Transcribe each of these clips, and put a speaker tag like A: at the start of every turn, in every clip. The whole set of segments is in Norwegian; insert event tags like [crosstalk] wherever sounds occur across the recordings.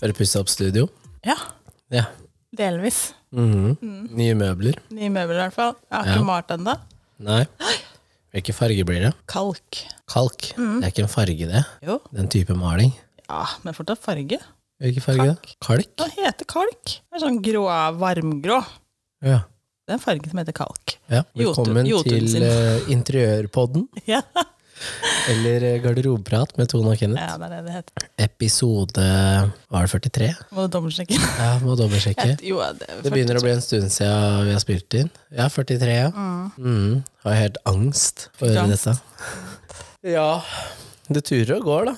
A: Dere pussa opp studio?
B: Ja,
A: Ja.
B: delvis.
A: Mhm. Nye møbler?
B: Nye møbler, i hvert fall. Jeg har
A: Ja.
B: ikke malt ennå.
A: Nei. Hvilken farge blir det?
B: Kalk.
A: Kalk?
B: Mm.
A: Det er ikke en farge, det.
B: Jo.
A: Den type maling.
B: Ja, men fortsatt farge.
A: Hvilken farge? Kalk. Kalk?
B: Hva heter kalk? Det er sånn grå, varmgrå.
A: Ja.
B: Det er en farge som heter kalk. [laughs]
A: ja.
B: Jotun-
A: Velkommen
B: Jotun
A: til
B: sin.
A: eh, interiørpodden,
B: Ja,
A: eller eh, garderobeprat med Tone og Kenneth.
B: ja det er det det heter.
A: Episode var det 43?
B: Må du dobbeltsjekke?
A: Ja, må dobbeltsjekke.
B: [laughs] Jo, det er
A: Det begynner å bli en stund siden vi har spilt inn. Ja, 43, ja. Mm. Har helt angst for å høre
B: Angst.
A: dette. Ja. Det turer og går, da.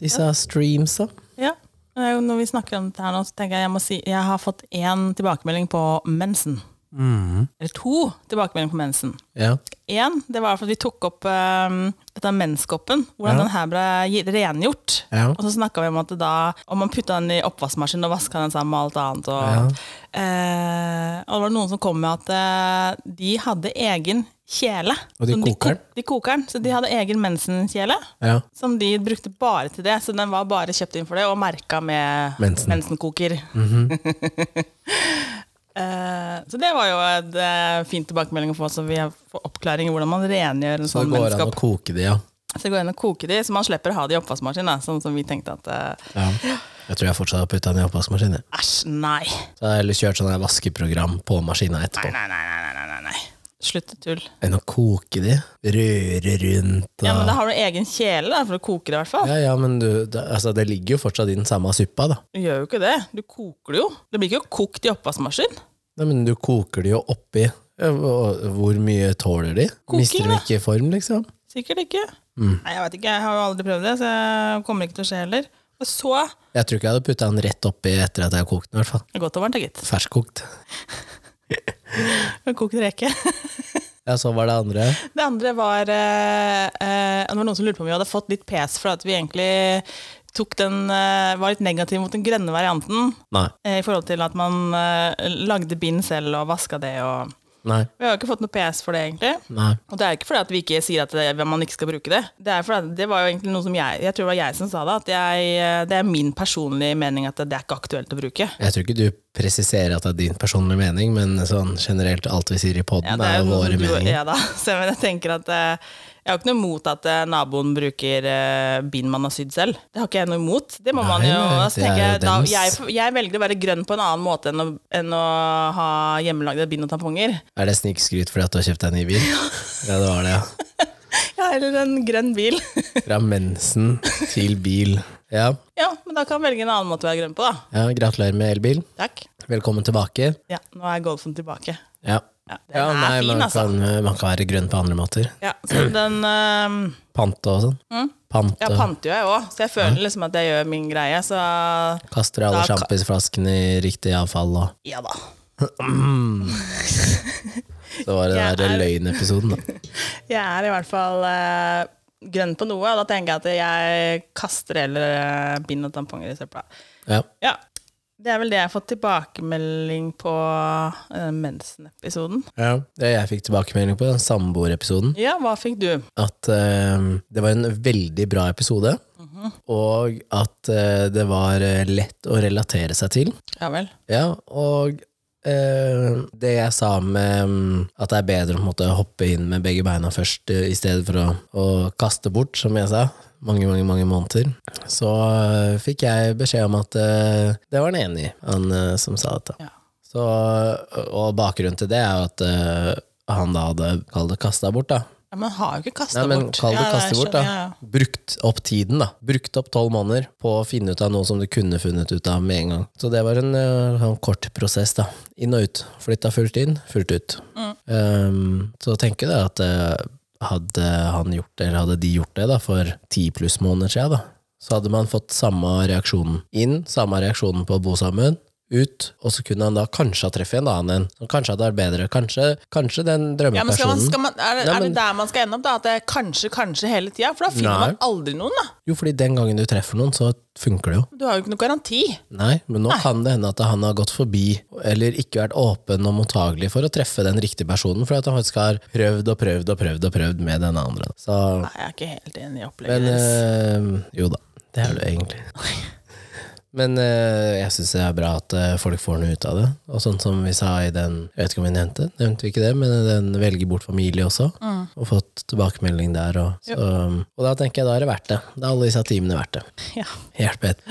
A: Disse streamsa.
B: Ja. Det er jo når vi snakker om dette her nå, så tenker jeg jeg må si jeg har fått én tilbakemelding på mensen. Eller to tilbakemeldinger på mensen.
A: Mhm. Ja.
B: Én, det var for at vi tok opp eh, dette med menskoppen. Hvordan
A: Ja.
B: den her ble gi- rengjort.
A: Ja.
B: Og så snakka vi om at det da, om man putta den i oppvaskmaskinen og vaska den sammen med alt annet. Og, eh, og det var noen som kom med at eh, de hadde egen kjele.
A: Og de
B: Som
A: koker den?
B: kok- De koker den, så de hadde egen mensenkjele.
A: ja.
B: Som de brukte bare til det, så den var bare kjøpt inn for det, og merka med
A: Mensen. Mhm.
B: mensenkoker. [laughs] Eh, så det var jo en eh, fin tilbakemelding å få, så vi har fått oppklaring i hvordan man rengjør en
A: Så
B: sånn
A: det går an å
B: menneskap.
A: koke de, ja.
B: Så det går an å koke de, så man slipper å ha de i oppvaskmaskinen, da, sånn som vi tenkte at eh,
A: ja. Jeg tror jeg fortsatt har putta den i oppvaskmaskinen. jeg.
B: æsj, nei.
A: Så har jeg heller kjørt sånn her vaskeprogram på maskina
B: Nei,
A: etterpå.
B: nei, nei, nei, nei, nei, nei. Slutt tull.
A: Enn å koke de. Røre rundt
B: Ja, men
A: og
B: da har du egen kjele da, for å koke det, i hvert fall.
A: Ja, ja, men du, det, altså, det ligger jo fortsatt i den samme suppa, da.
B: Du gjør jo ikke det. Du koker det jo. Det blir ikke kokt i oppvaskmaskin.
A: Nei, men du koker de jo oppi. Ja, og Hvor mye tåler de?
B: Koking,
A: Mister de
B: da.
A: ikke i form, liksom?
B: Sikkert ikke. Nei, Jeg vet ikke, jeg har jo aldri prøvd det, så jeg kommer ikke til å skje heller. Og så
A: Jeg tror ikke jeg hadde putta den rett oppi etter at jeg har kokt den. i hvert fall.
B: Godt og varmt, da, gitt.
A: Ferskkokt.
B: Kokt reke.
A: Ja, så var det andre.
B: [laughs] Det andre var eh, eh, Det var noen som lurte på om vi hadde fått litt pes for at vi egentlig tok den, eh, var litt negative mot den grønne varianten.
A: Nei.
B: eh, I forhold til at man eh, lagde bind selv og vaska det og
A: Nei.
B: Vi har jo ikke fått noe pes for det, egentlig.
A: Nei.
B: Og det er ikke fordi at vi ikke sier at det, man ikke skal bruke det. Det er fordi at det var jo egentlig noe som jeg Jeg tror det var jeg som sa det. At jeg, eh, det er min personlige mening at det er ikke aktuelt å bruke.
A: Jeg tror ikke du presiserer at det er din personlige mening, men sånn generelt alt vi sier i poden,
B: Ja, det
A: er jo
B: noe
A: våre
B: som du-
A: meninger.
B: Ja da. [laughs] Så, men jeg tenker at eh, jeg har ikke noe imot at eh, naboen bruker eh, bind man har sydd selv. Det har ikke jeg noe imot. Det må man
A: Nei,
B: jo
A: nei,
B: altså,
A: det er
B: tenker
A: jo
B: jeg, da,
A: dems.
B: jeg, jeg velger å være grønn på en annen måte enn å, enn å ha hjemmelagde bind og tamponger. [laughs]
A: Er det snikskryt fordi at du har kjøpt deg en ny bil? Ja, det var det, ja.
B: Ja, eller en grønn bil. [laughs]
A: Fra mensen til bil. Ja,
B: ja, men da kan jeg velge en annen måte å være grønn på, da.
A: ja gratulerer med elbil.
B: Takk.
A: Velkommen tilbake.
B: Ja, nå er golfen tilbake.
A: Ja.
B: Ja, den
A: Ja,
B: er
A: nei,
B: fin,
A: man
B: altså.
A: kan, eh, man kan være grønn på andre måter.
B: Ja, så den eh,
A: Pante og sånn. Pante.
B: Mm. Ja, panter jo jeg òg, så jeg føler liksom at jeg gjør min greie, så
A: Kaster alle
B: Da ka-
A: sjampisflaskene i riktig avfall og
B: ja da.
A: Det var den
B: Jeg
A: der
B: er-
A: løgnepisoden, da.
B: Jeg er i hvert fall eh, grønn på noe, og da tenker jeg at jeg kaster heller eh, bind og tamponger i søpla.
A: Ja.
B: Ja, det er vel det jeg har fått tilbakemelding på eh, mensen-episoden.
A: Ja. Det jeg fikk tilbakemelding på, den samboerepisoden,
B: Ja, hva fikk du?
A: at eh, det var en veldig bra episode, og at eh, det var eh, lett å relatere seg til.
B: Ja vel.
A: Ja, og eh, det jeg sa med mm, at det er bedre å på en måte, hoppe inn med begge beina først, eh, i stedet for å, å kaste bort, som jeg sa, mange, mange mange måneder, så eh, fikk jeg beskjed om at eh, det var han enig i, han eh, som sa dette.
B: Ja.
A: Så, og bakgrunnen til det er jo at eh, han da hadde kall det kasta bort, da.
B: Ja, men har jo ikke kasta
A: Nei, men
B: bort.
A: kall det
B: Ja,
A: kaste
B: jeg
A: bort, da.
B: skjønner, ja, ja.
A: Brukt opp tiden, da. Brukt opp tolv måneder på å finne ut av noe som du kunne funnet ut av med en gang. Så det var en eh, sånn kort prosess, da. Inn og ut. Flytta fullt inn, fullt ut.
B: Mm.
A: Ehm, så tenker jeg at eh, hadde han gjort det, eller hadde de gjort det, da, for ti pluss måneder siden, da, så hadde man fått samme reaksjonen inn, samme reaksjonen på å bo sammen, ut, og så kunne han da kanskje ha treffet en annen en. som Kanskje hadde vært bedre. Kanskje, kanskje den
B: Ja, men skal
A: drømmepersonen.
B: man, skal man, er, det,
A: Nei,
B: er det
A: men-
B: der man skal ende opp? da? At det er kanskje, kanskje hele tida? For da finner
A: Nei.
B: man aldri noen, da.
A: Jo, fordi den gangen du treffer noen, så funker det jo.
B: Du har jo ikke noen garanti.
A: Nei, men nå kan det hende at han har gått forbi, eller ikke vært åpen og mottagelig for å treffe den riktige personen, for at han faktisk har prøvd og prøvd og prøvd og prøvd med den andre. Så,
B: Nei, jeg er ikke helt enig i
A: men
B: opplegget deres.
A: eh, jo da, det er det jo egentlig. Men eh, jeg syns det er bra at eh, folk får noe ut av det. Og sånn som vi sa i den Jeg vet ikke om vi nevnte nevnte vi ikke det, men den velger bort familie også. Og fått tilbakemelding der. Og, så, og da tenker jeg da er det verdt det. Da er alle disse timene verdt det.
B: [laughs] Ja.
A: Hjelp et.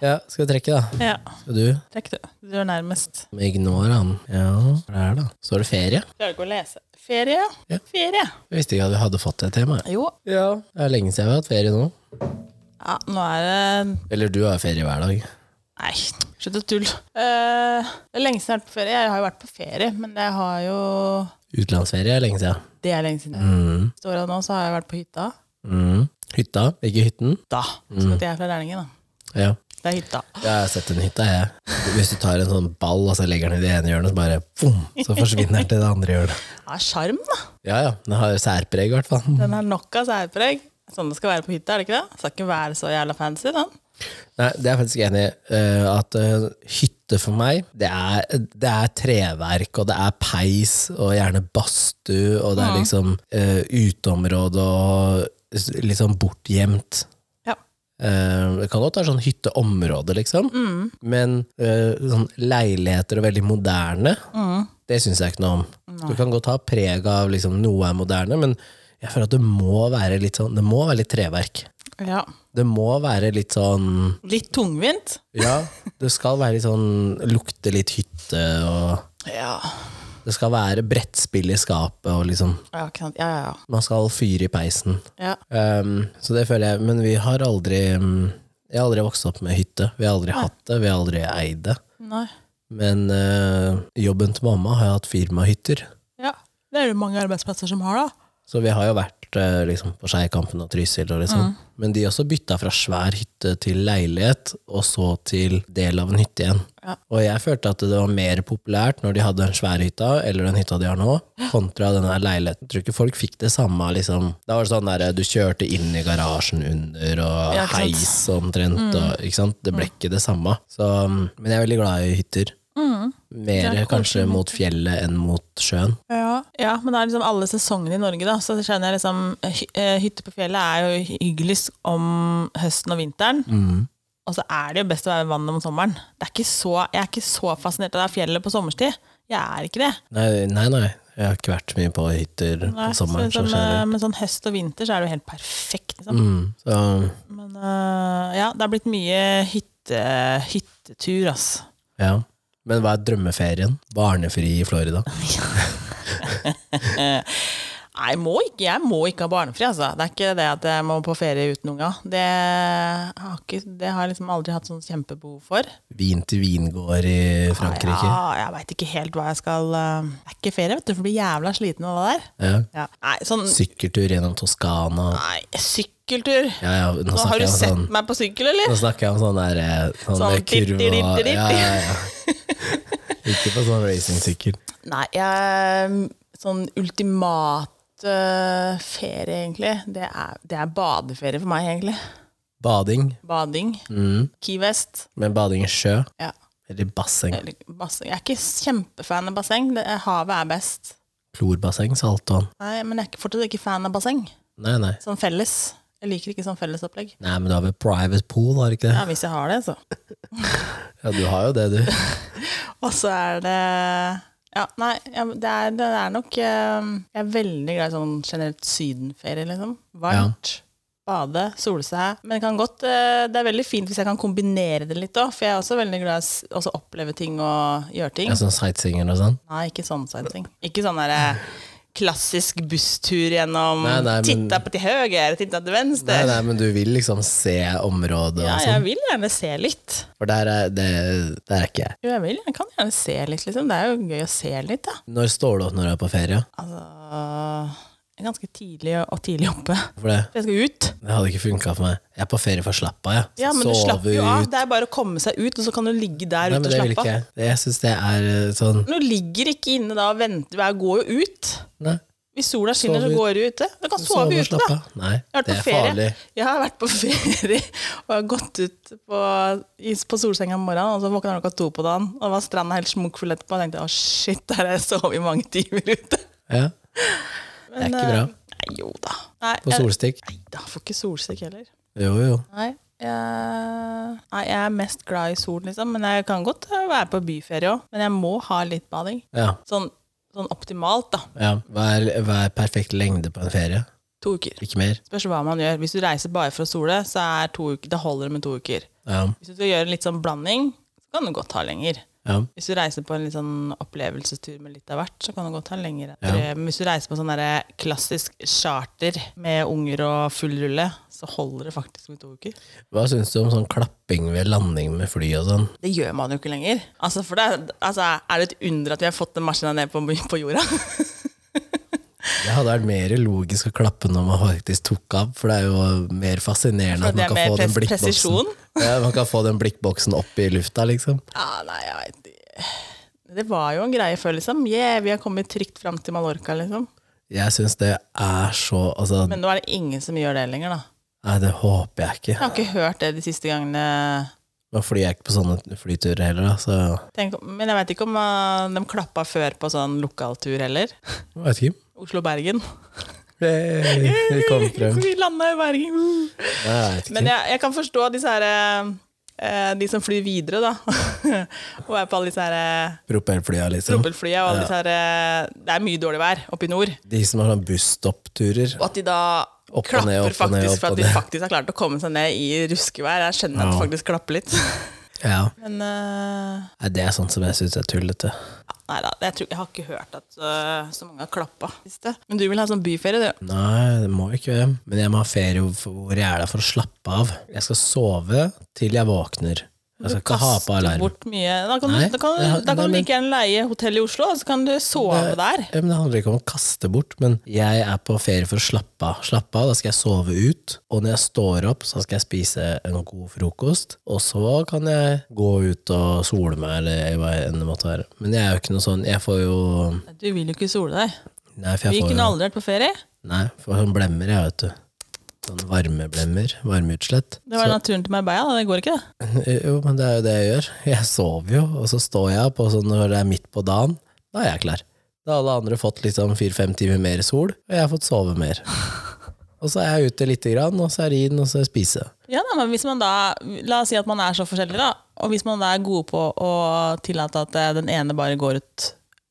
A: Ja, skal jeg trekke, da?
B: ja.
A: Skal du?
B: Trekk du. Du er nærmest.
A: Ignore han. Ja, hva er det da? Så er det ferie.
B: Klarer ikke å lese. Ferie,
A: Ja.
B: Ferie.
A: Jeg visste ikke at vi hadde fått det temaet.
B: Jo.
A: Ja. Det er lenge siden vi har hatt ferie nå.
B: Ja, nå er det
A: Eller du har ferie hver dag.
B: Nei, slutt å tulle. Eh, det er lenge siden jeg har vært på ferie. Jeg har jo vært på ferie, men jeg har jo
A: Utenlandsferie er lenge siden.
B: Det er lenge siden.
A: Mm.
B: Siste året nå så har jeg vært på hytta.
A: Mm. Hytta, ikke hytten.
B: Da.
A: Mm.
B: Som at jeg er fra Lærlingen, da.
A: Ja.
B: Det er hytta.
A: Jeg har sett en hytte, jeg. Hvis du tar en sånn ball og så legger den i det ene hjørnet, så bare boom, så forsvinner den til det andre hjørnet.
B: Det er sjarm, da.
A: Ja ja, den har særpreg i hvert fall.
B: Den har nok av særpreg. Sånn det skal være på hytta, er det ikke det? Skal ikke være så jævla fancy, den.
A: Nei, det er jeg faktisk enig i. eh, At eh, hytte for meg, det er, det er treverk, og det er peis, og gjerne badstue, og det er liksom eh, uteområde og s- litt sånn bortgjemt.
B: Ja.
A: Eh, Det kan godt være sånn hytteområde, liksom, men eh, sånn leiligheter og veldig moderne, det syns jeg ikke noe om. Du kan godt ha preg av liksom, noe er moderne, men jeg føler at det må være litt sånn Det må være litt treverk.
B: ja.
A: Det må være litt sånn
B: Litt tungvint.
A: ja, det skal være litt sånn Lukte litt hytte og
B: Ja.
A: Det skal være brettspill i skapet og liksom
B: Ja, ikke sant. ja, ja.
A: Man skal fyre i peisen
B: ja. ja.
A: um, Så det føler jeg Men vi har aldri um, Jeg har aldri vokst opp med hytte Vi har aldri hatt det, vi har aldri eid det
B: Nei.
A: Men uh, jobben til mamma har jo hatt firmahytter
B: Ja. Det er det mange arbeidsplasser som har, da.
A: Så vi har jo vært eh, liksom, på Skeikampen og Trysil og liksom. Men de også bytta fra svær hytte til leilighet, og så til del av en hytte igjen.
B: Ja.
A: Og jeg følte at det var mer populært når de hadde den svære hytta, eller den hytta de har nå, kontra den her leiligheten. Jeg tror ikke folk fikk det samme, liksom. Da var det sånn der, du kjørte inn i garasjen under, og
B: Ja, ikke sant. Mm.
A: heis omtrent, og ikke sant? Det ble ikke det samme. Så, mm, men jeg er veldig glad i hytter.
B: Mm.
A: Mer kanskje mot fjellet enn mot sjøen.
B: Ja. ja, men det er liksom alle sesongene i Norge, da. Så skjønner jeg liksom hy eh, Hytte på fjellet er jo hyggeligst om høsten og vinteren.
A: Mm.
B: Og så er det jo best å være ved vannet om sommeren. Det er ikke så, jeg er ikke så fascinert av det fjellet på sommerstid. Jeg er ikke det.
A: Nei, nei, nei. Jeg har ikke vært så mye på hytter på
B: Nei,
A: sommeren.
B: så
A: Så,
B: liksom, eh,
A: så,
B: men sånn høst og vinter så er det jo helt perfekt. Liksom.
A: mm, så
B: Men eh, ja, det har blitt mye hytte, hyttetur, ass.
A: ja. Men hva er drømmeferien? Barnefri i Florida?
B: Nei, må ikke, jeg må ikke ha barnefri, altså. Det er ikke det at jeg må på ferie uten unga. Det har, ikke, det har jeg liksom aldri hatt sånn kjempebehov for.
A: Vin til vingård i Frankrike?
B: Ja, jeg veit ikke helt hva jeg skal eh, Det er ikke ferie, vet du, for jeg blir jævla sliten av det der.
A: Ja.
B: Ja. Nei, sånn
A: Sykkeltur gjennom Toskana?
B: Nei, sykkeltur.
A: Ja, ja, nå
B: Nå har
A: snakker
B: du
A: jeg om
B: sett
A: sånn
B: meg på sykkel, eller?
A: nå snakker jeg om sånn der eh, sånn
B: Sånn
A: med kurve
B: dipp, dipp,
A: og
B: dipp.
A: ja, ja, ja. Ikke på sånn racingsykkel.
B: Nei, jeg, sånn ultimat øh, ferie, egentlig. Det er, det er badeferie for meg, egentlig.
A: Bading,
B: Bading. Key West.
A: men bading i sjø
B: Ja.
A: eller basseng.
B: Eller basseng. Jeg er ikke kjempefan av basseng. Det, eh, havet er best.
A: Klorbasseng, saltvann.
B: Nei, Men jeg er ikke, fortsatt ikke fan av basseng.
A: Nei, nei.
B: Sånn felles. Jeg liker ikke sånn fellesopplegg.
A: Nei, men du har vel private pool, har du ikke det?
B: Ja, hvis jeg har det, så. [laughs]
A: Ja, du har jo det, du.
B: Og så er det Ja, nei, ja, men det, er, det er nok eh, Jeg er veldig glad i sånn generelt sydenferie, liksom. Varmt. Bade, sole seg. Men det, kan godt, eh, det er veldig fint hvis jeg kan kombinere det litt òg, for jeg er også veldig glad i s- også oppleve ting og gjøre ting.
A: Ja, sånn sightseeing og sånn?
B: Nei, ikke sånn sånne ting. Ikke sånn derre klassisk busstur gjennom
A: Nei, nei, men-
B: Titta på til høyre, titta til venstre.
A: Nei, nei, men du vil liksom se området
B: Ja,
A: og sånn.
B: jeg vil gjerne se litt.
A: For der er, det, der er ikke jeg.
B: Jo, jeg vil. Jeg kan gjerne se litt, liksom. Det er jo gøy å se litt, da.
A: Når står du opp når du er på ferie?
B: Altså jeg er Ganske tidlig og tidlig oppe.
A: For det,
B: Jeg skal ut.
A: det hadde ikke funka for meg. Jeg er på ferie for å slappe av, jeg.
B: Ja, men du
A: Sove
B: slapper jo av.
A: ut.
B: Det er bare å komme seg ut, og så kan du ligge der
A: Nei,
B: ute
A: men
B: og
A: det vil
B: slappe
A: ikke
B: av.
A: jeg. Det- Jeg syns det er eh, sånn
B: Men Du ligger ikke inne da og venter. Jeg går jo ut.
A: Nei.
B: Hvis sola skinner,
A: Sove
B: så
A: ut.
B: går du ute. Du kan sove,
A: og
B: ute, da.
A: slappe av. Nei,
B: Jeg har vært
A: det
B: på
A: er
B: ferie.
A: farlig.
B: Jeg har vært på [laughs] ferie og jeg har gått ut på, i- på solsenga om morgenen, og så våkna jeg klokka to på dagen, og var stranda helt smukkfull etterpå. Og tenkte å shit, der har jeg sovet i mange [laughs] timer ute.
A: Ja.
B: Men,
A: ikke bra.
B: eh, Nei, jo da. Nei,
A: På
B: jeg-
A: solstikk.
B: Nei da, får ikke solstikk heller.
A: Jo, jo.
B: Nei. Jeg, nei, jeg er mest glad i sol, liksom. Men jeg kan godt eh, være på byferie òg. Men jeg må ha litt bading.
A: Ja,
B: Sånn, sånn optimalt, da.
A: ja. Hva, er, hva er perfekt lengde på en ferie?
B: To uker.
A: Ikke mer?
B: Spørs hva man gjør. Hvis du reiser bare for å sole, så er to uker, det holder det med to uker.
A: Ja,
B: Hvis du skal gjøre en litt sånn blanding, så kan du godt ha lenger.
A: ja.
B: Hvis du reiser på en litt sånn opplevelsestur med litt av hvert, så kan du godt ha lengre. Men hvis du reiser på sånn derre klassisk charter med unger og full rulle, så holder det faktisk med to uker.
A: Hva syns du om sånn klapping ved landing med fly og sånn?
B: Det gjør man jo ikke lenger. Altså, for det, altså, er det et under at vi har fått den maskina ned på, på jorda? [laughs]
A: Det hadde vært mer logisk å klappe når man faktisk tok av, for det er jo mer fascinerende
B: For
A: at
B: Altså,
A: man
B: det er
A: kan
B: mer
A: få den
B: pres-
A: blikkboksen.
B: presisjon.
A: [laughs] Ja, man kan få den blikkboksen opp i lufta, liksom.
B: Ja, nei, jeg vet ikke. Det var jo en greie før, liksom. Yeah, vi har kommet trygt fram til Mallorca, liksom.
A: Jeg syns det er så Altså,
B: Men nå er det ingen som gjør det lenger, da.
A: nei, det håper jeg ikke.
B: Jeg har ikke hørt det de siste gangene.
A: Man flyr jeg ikke på sånne flyturer heller, da, så
B: Tenk, men jeg veit ikke om eh, de klappa før på sånn lokaltur heller. [laughs]
A: jeg vet ikke.
B: Oslo-Bergen.
A: Hey, vi kom frem.
B: [laughs] Vi landa i Bergen! Uh.
A: Nei, jeg vet
B: Men
A: ikke.
B: jeg, jeg kan forstå disse her eh, De som flyr videre, da. [laughs] og er på alle disse her eh,
A: Propellflya, liksom.
B: propellflyene og alle disse her eh, Det er mye dårlig vær oppe i nord.
A: De som har sånn busstoppturer.
B: Og at de da
A: Opp og
B: klapper
A: ned, opp og ned,
B: faktisk
A: opp
B: for
A: og
B: at de
A: ned.
B: faktisk har klart å komme seg ned i ruskevær. Jeg skjønner at de
A: Ja.
B: faktisk klapper litt. [laughs]
A: Ja.
B: Men eh,
A: Nei, det er sånt som jeg syns er tullete.
B: nei da, jeg, tror, jeg har ikke hørt at eh, så mange har klappa. Men du vil ha sånn byferie, du.
A: Nei, det må jeg ikke. Men jeg må ha ferie hvor hvor jeg er der for å slappe av. Jeg skal sove til jeg våkner. Jeg skal ikke ha på
B: kaster
A: alarm.
B: Bort mye. Da kan,
A: Nei,
B: du, da kan,
A: det har-
B: da
A: nei,
B: kan du
A: men-
B: like gjerne leie hotell i Oslo, og så kan du sove der.
A: Ja, men det handler ikke om å kaste bort, men jeg er på ferie for å slappe av. Slappe av, Da skal jeg sove ut, og når jeg står opp, så skal jeg spise en god frokost. Og så kan jeg gå ut og sole meg, eller hva enn det måtte være. Men jeg er jo ikke noe sånn Jeg får jo
B: Du vil jo ikke sole deg.
A: Nei, for
B: Vi
A: jeg får
B: kunne
A: jo
B: aldri vært på ferie.
A: Nei, for sånn blemmer, jeg, vet du. Sånn varmeblemmer. Varmeutslett.
B: Det var naturen til Marbella, da. det går ikke, det.
A: Jo, men det er jo det jeg gjør. Jeg sover jo, og så står jeg opp, og så når det er midt på dagen, da er jeg klar. Da har alle andre fått liksom fire-fem timer mer sol, og jeg har fått sove mer. Og så er jeg ute lite grann, og så er det inn, og så er det spise.
B: Ja, da, men hvis man da, La oss si at man er så forskjellig, da. Og hvis man da er gode på å tillate at eh, den ene bare går ut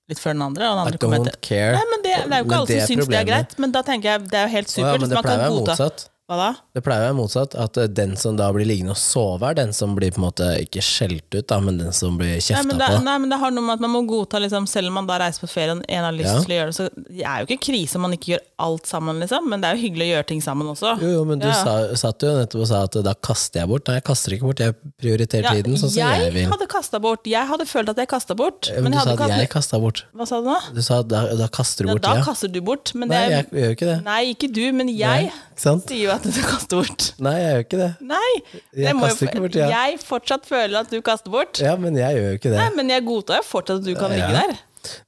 B: litt før den andre, og den
A: I
B: andre kommer
A: don't
B: etter.
A: care.
B: Nei, men det, det er jo
A: Men
B: ikke alle
A: det
B: som syns det er
A: problemet.
B: greit, men da tenker jeg det er jo helt
A: Å ja,
B: supert.
A: men
B: hvis
A: det
B: man kan
A: pleier å være
B: godta
A: motsatt.
B: Hva da?
A: Det pleier å være motsatt, at eh, den som da blir liggende og sove, er den som blir på en måte ikke skjelt ut, da, men den som blir
B: Nei men,
A: kjefta
B: det,
A: på.
B: nei, men det har noe med at man må godta, liksom, selv om man da reiser på ferie og en har lyst
A: Ja.
B: til å gjøre det, så det er jo ikke krise om man ikke gjør alt sammen, liksom, men det er jo hyggelig å gjøre ting sammen også.
A: Jo, jo, men du
B: Ja.
A: sa, satt jo nettopp og sa at da kaster jeg bort. Nei, jeg kaster ikke bort, jeg prioriterer
B: Ja,
A: tiden sånn som jeg, vil.
B: hadde kasta bort. Jeg hadde følt at jeg kasta bort.
A: Men
B: Men
A: du
B: jeg
A: sa
B: hadde
A: at
B: ikke
A: jeg
B: hatt
A: kasta bort.
B: Hva sa du nå?
A: Du sa da, da kaster du
B: Ja,
A: bort
B: da
A: tida.
B: kaster du bort, men
A: Nei,
B: det
A: jeg
B: er
A: gjør jo ikke det.
B: Nei, ikke du, men jeg
A: Ikke sant?
B: sier jo at du [laughs] kaster bort.
A: Nei, jeg gjør ikke det.
B: Nei!
A: Jeg
B: det må jo-
A: kaster ikke bort, ja.
B: Jeg fortsatt føler at du kaster bort.
A: Ja, men jeg gjør jo ikke det.
B: Nei, men jeg godtar jo fortsatt at du kan
A: Ja.
B: ligge der.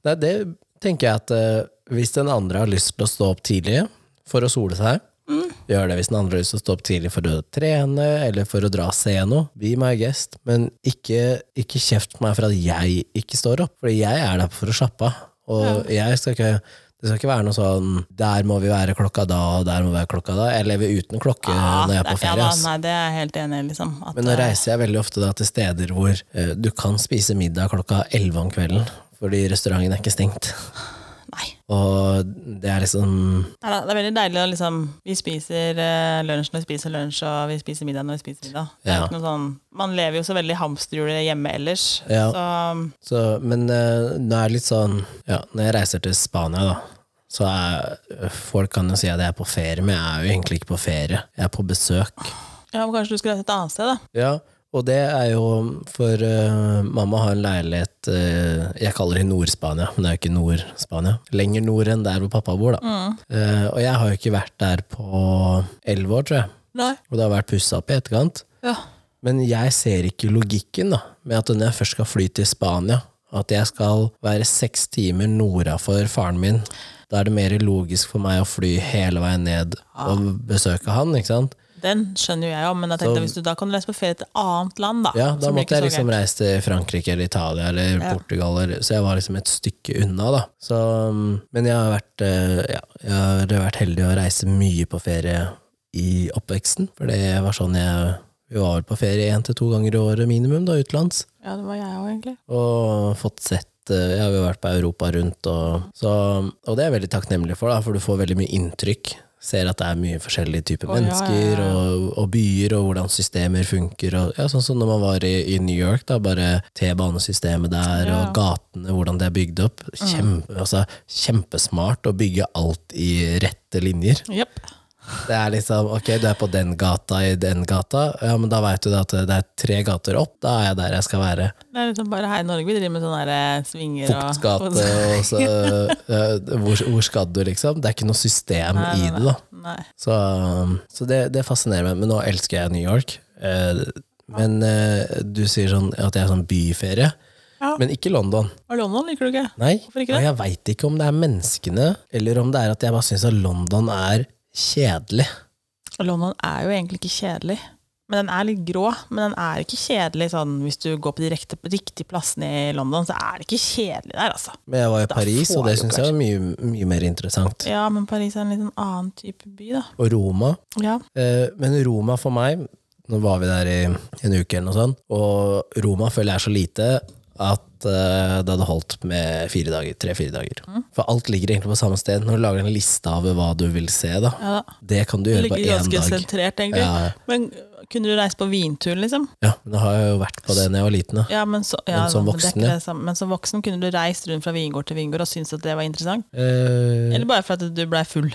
A: Nei, det tenker jeg at eh, hvis den andre har lyst til å stå opp tidlig for å sole seg,
B: Mm.
A: gjør det. Hvis den andre har lyst til å stå opp tidlig for å trene eller for å dra og se noe, be my guest. Men ikke, ikke kjeft på meg for at jeg ikke står opp, for jeg er der for å slappe av. Og jeg skal ikke det skal ikke være noe sånn 'der må vi være klokka da, og der må vi være klokka da'. Jeg lever uten klokke Ah, når jeg er på
B: ja,
A: ferie.
B: da,
A: ass.
B: Ah, nei, det er jeg helt enig i, liksom. At,
A: Men nå reiser jeg veldig ofte da til steder hvor eh, du kan spise middag klokka 11 om kvelden, fordi restauranten er ikke stengt.
B: nei.
A: Og det er liksom
B: Neida, det er veldig deilig å liksom Vi spiser eh, lunsj når vi spiser lunsj, og vi spiser middag når vi spiser middag. Det er
A: Ja.
B: ikke noe sånn, man lever jo så veldig i hamsterhjulet hjemme ellers.
A: Ja.
B: Så
A: så, Men eh, nå er det litt sånn ja, Når jeg reiser til Spania, da, så er folk kan jo si at jeg er på ferie, men jeg er jo egentlig ikke på ferie. Jeg er på besøk.
B: ja, men kanskje du skulle reise et annet sted, da.
A: Ja, og det er jo for eh, mamma har en leilighet eh, Jeg kaller det Nord-Spania, men det er jo ikke Nord-Spania. Lenger nord enn der hvor pappa bor, da. Eh, og jeg har jo ikke vært der på elleve år, tror jeg.
B: Nei.
A: Og det har vært pussa opp i etterkant.
B: Ja.
A: Men jeg ser ikke logikken da, med at når jeg først skal fly til Spania, at jeg skal være seks timer norda for faren min, da er det mer logisk for meg å fly hele veien ned
B: Ah.
A: og besøke han, ikke sant?
B: Den skjønner jo jeg òg, men jeg tenkte, hvis du da kan du reise på ferie til et annet land, da.
A: Sånn. Ja, da
B: så blir
A: måtte
B: det Ah, ikke
A: jeg
B: så
A: liksom reise til Frankrike eller Italia eller Portugal, eller, så jeg var liksom et stykke unna, da. Så, um, men jeg har, vært, eh, ja, jeg har vært heldig å reise mye på ferie i oppveksten, for det var sånn jeg Vi var vel på ferie én til to ganger i året minimum, da, utenlands.
B: Ja, det var jeg òg, egentlig.
A: Og fått sett eh, Jeg har jo vært på Europa rundt, og, så, og det er jeg veldig takknemlig for, da, for du får veldig mye inntrykk. Ser at det er mye forskjellige typer
B: Å, ja,
A: mennesker
B: ja, ja.
A: Og, og byer, og hvordan systemer funker. Og, ja, sånn som når man var i, i New York, da, bare T-banesystemet der,
B: Ja. Mm.
A: og gatene, hvordan det er bygd opp. Kjempe, altså, kjempesmart å bygge alt i rette linjer.
B: Jepp.
A: Det er liksom, ok, du er på den gata i den gata, ja, men da vet du det at det er tre gater opp, da er jeg der jeg skal være.
B: Det er liksom bare her i Norge vi driver med sånne der svinger og
A: Fuktgate, og så eh, hvor, hvor skal du, liksom? Det er ikke noe system
B: Nei,
A: i
B: nei,
A: det, da.
B: [laughs] Nei.
A: Så, um, så det, det fascinerer meg. Men nå elsker jeg New York. Eh, Men eh, du sier sånn at jeg er sånn byferie,
B: Ja.
A: men ikke London.
B: Og London liker du ikke?
A: Nei,
B: Hvorfor ikke
A: og
B: det?
A: jeg veit ikke om det er menneskene, eller om det er at jeg bare syns at London er kjedelig.
B: Og London er jo egentlig ikke kjedelig. Men den er litt grå, men den er ikke kjedelig sånn hvis du går på de rekte, riktige plassene i London, så er det ikke kjedelig der, altså.
A: Men jeg var i
B: Da
A: Paris,
B: får
A: og det
B: du
A: syns jeg var mye, mye mer interessant.
B: Ja, men Paris er en litt sånn annen type by, da.
A: Og Roma.
B: Ja.
A: Eh, Men Roma for meg Nå var vi der i en uke eller noe sånt, og Roma føler jeg er så lite at eh, det hadde holdt med fire dager, tre-fire dager.
B: Mm.
A: For alt ligger egentlig på samme sted. Når du lager en liste av hva du vil se, da,
B: ja da.
A: det kan du
B: Det
A: gjøre på én
B: ligger ganske
A: dag.
B: sentrert, egentlig.
A: Ja,
B: Men kunne du reist på vintur, liksom?
A: ja, men da har jeg jo vært på det da jeg var liten. Da.
B: Ja, men, så, ja,
A: Men som
B: det er ikke
A: voksen, ja.
B: det samme. men som voksen kunne du reist rundt fra vingård til vingård og syntes at det var interessant?
A: Eh,
B: Eller bare for at du blei full?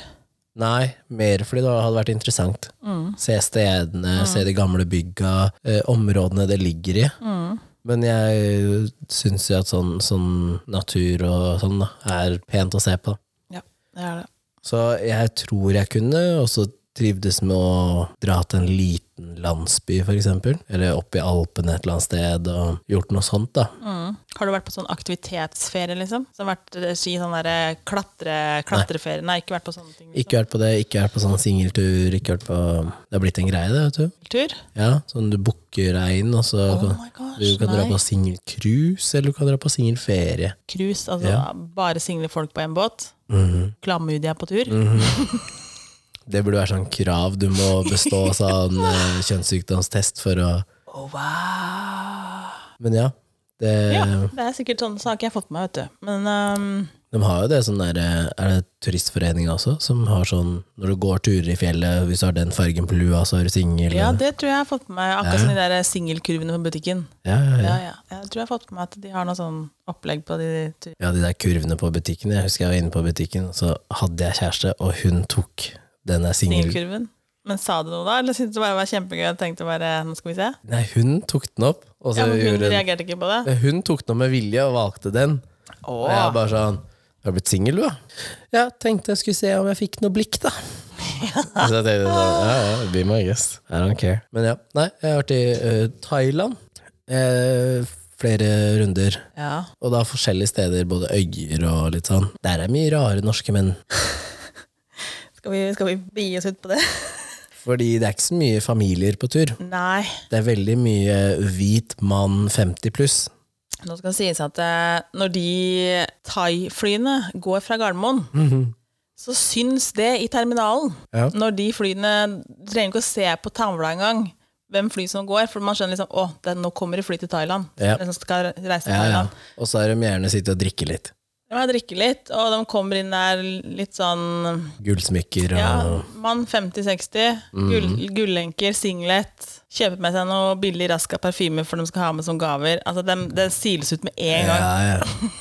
A: Nei, mer fordi det hadde vært interessant.
B: Mm.
A: Se stedene, se de gamle bygga, eh, områdene det ligger i.
B: Mm.
A: Men jeg syns jo at sånn, sånn natur og sånn da, er pent å se på.
B: Det er det.
A: Så jeg tror jeg kunne også trivdes med å dra til en liten landsby, for eksempel. Eller opp i Alpene et eller annet sted, og gjort noe sånt, da.
B: Mm. Har du vært på sånn aktivitetsferie, liksom? Så vært eh, si sånn derre klatre, klatreferie? Nei. ikke vært på sånne ting. Liksom.
A: Ikke vært på det, ikke vært på sånn singeltur, ikke vært på Det har blitt en greie, det, vet du.
B: Tur?
A: Ja, sånn du booker deg inn, og så
B: Oh
A: kan
B: my gosh,
A: du kan dra
B: nei.
A: på singelcruise, eller du kan dra på singelferie.
B: Cruise, altså
A: Ja.
B: bare single folk på en båt.
A: Mhm.
B: Klamydia på tur.
A: Det burde være sånn krav. Du må
B: [laughs]
A: bestå sånn eh, kjønnssykdomstest for å
B: Oh, wow!
A: Men ja, det,
B: Ja, det er sikkert sånn, så har ikke jeg fått med meg, vet du. Men ehm,
A: de har jo det sånn der Er det turistforeninga også, som har sånn Når du går turer i fjellet, hvis du har den fargen på lua, så er du singel.
B: ja,
A: og-
B: det tror jeg jeg har fått med meg. Akkurat som de der eh, singelkurvene på butikken.
A: ja, ja,
B: Ja,
A: ja.
B: ja. Jeg tror jeg har fått med meg at de har noe sånn opplegg på de tur.
A: ja, de der kurvene på butikken. Jeg husker jeg var inne på butikken, så hadde jeg kjæreste, og hun tok den der singel...
B: singelkurven. Men sa du noe da, eller syntes du bare det var kjempegøy og tenkte bare nå skal vi se?
A: Nei, hun tok den opp, og
B: Ja,
A: så
B: men hun
A: gjorde hun
B: reagerte ikke på det?
A: Men Hun tok den opp med vilje og valgte den. Og jeg bare sånn Du har blitt singel, du, da? Ja, tenkte jeg skulle se om jeg fikk noe blikk, da. Så jeg tenkte sånn, ja, ja, be my guest. I don't care. Men ja, nei, jeg har vært i eh, Thailand eh, flere runder.
B: Ja.
A: Og da forskjellige steder, både øyer og litt sånn. Der er mye rare norske menn.
B: Skal vi, skal vi bi oss ut på det? [laughs]
A: Fordi det er ikke så mye familier på tur.
B: Nei.
A: Det er veldig mye hvit mann 50 pluss.
B: Nå skal det sies at eh, når de thai-flyene går fra Gardermoen, så syns det i terminalen.
A: Mhm. Ja.
B: Når de flyene Du trenger ikke å se på tavla engang hvem fly som går, for man skjønner liksom å, det, nå kommer det fly til Thailand.
A: Ja.
B: Den som skal reise
A: Ja,
B: til
A: ja.
B: Thailand.
A: Og så er de gjerne sitte og drikke litt.
B: De må drikke litt, og de kommer inn der litt sånn
A: Gullsmykker og
B: ja, Mann 50-60,
A: Mhm.
B: gull, gullenker, singlet. Kjøper med seg noe billig raska parfyme for de skal ha med som gaver. Altså, dem- Det siles ut med en gang.
A: Ja, ja.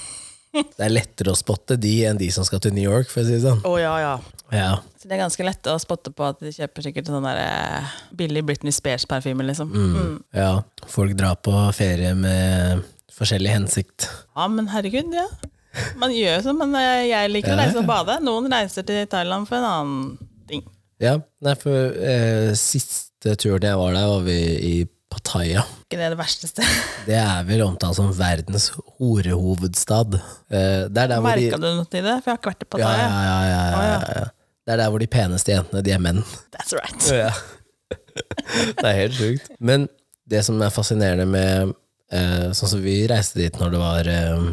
A: Det er lettere å spotte de enn de som skal til New York, for å si det sånn.
B: Å ja, ja.
A: Ja.
B: Så det er ganske lett å spotte på at de kjøper sikkert sånn der eh, billig Britney Spears-parfyme, liksom. Mm.
A: ja. Folk drar på ferie med forskjellig hensikt.
B: Ja, men herregud, ja. Man gjør jo sånn, men eh, jeg liker å
A: Ja,
B: reise
A: ja.
B: og bade. Noen reiser til Thailand for en annen ting.
A: Ja, nei, for eh, siste turen jeg var der, var vi i Pattaya.
B: Ikke det det verste stedet.
A: Det er vel omtalt som verdens horehovedstad. Eh, det er der hvor de
B: Merka du noe til det? For jeg har ikke vært i
A: ja,
B: Pattaya.
A: ja, ja, ja, ja, ja, ja. Det er der hvor de peneste jentene, de er menn.
B: That's right.
A: Ja. [laughs] det er helt sjukt. Men det som er fascinerende med eh, Sånn som vi reiste dit når det var eh,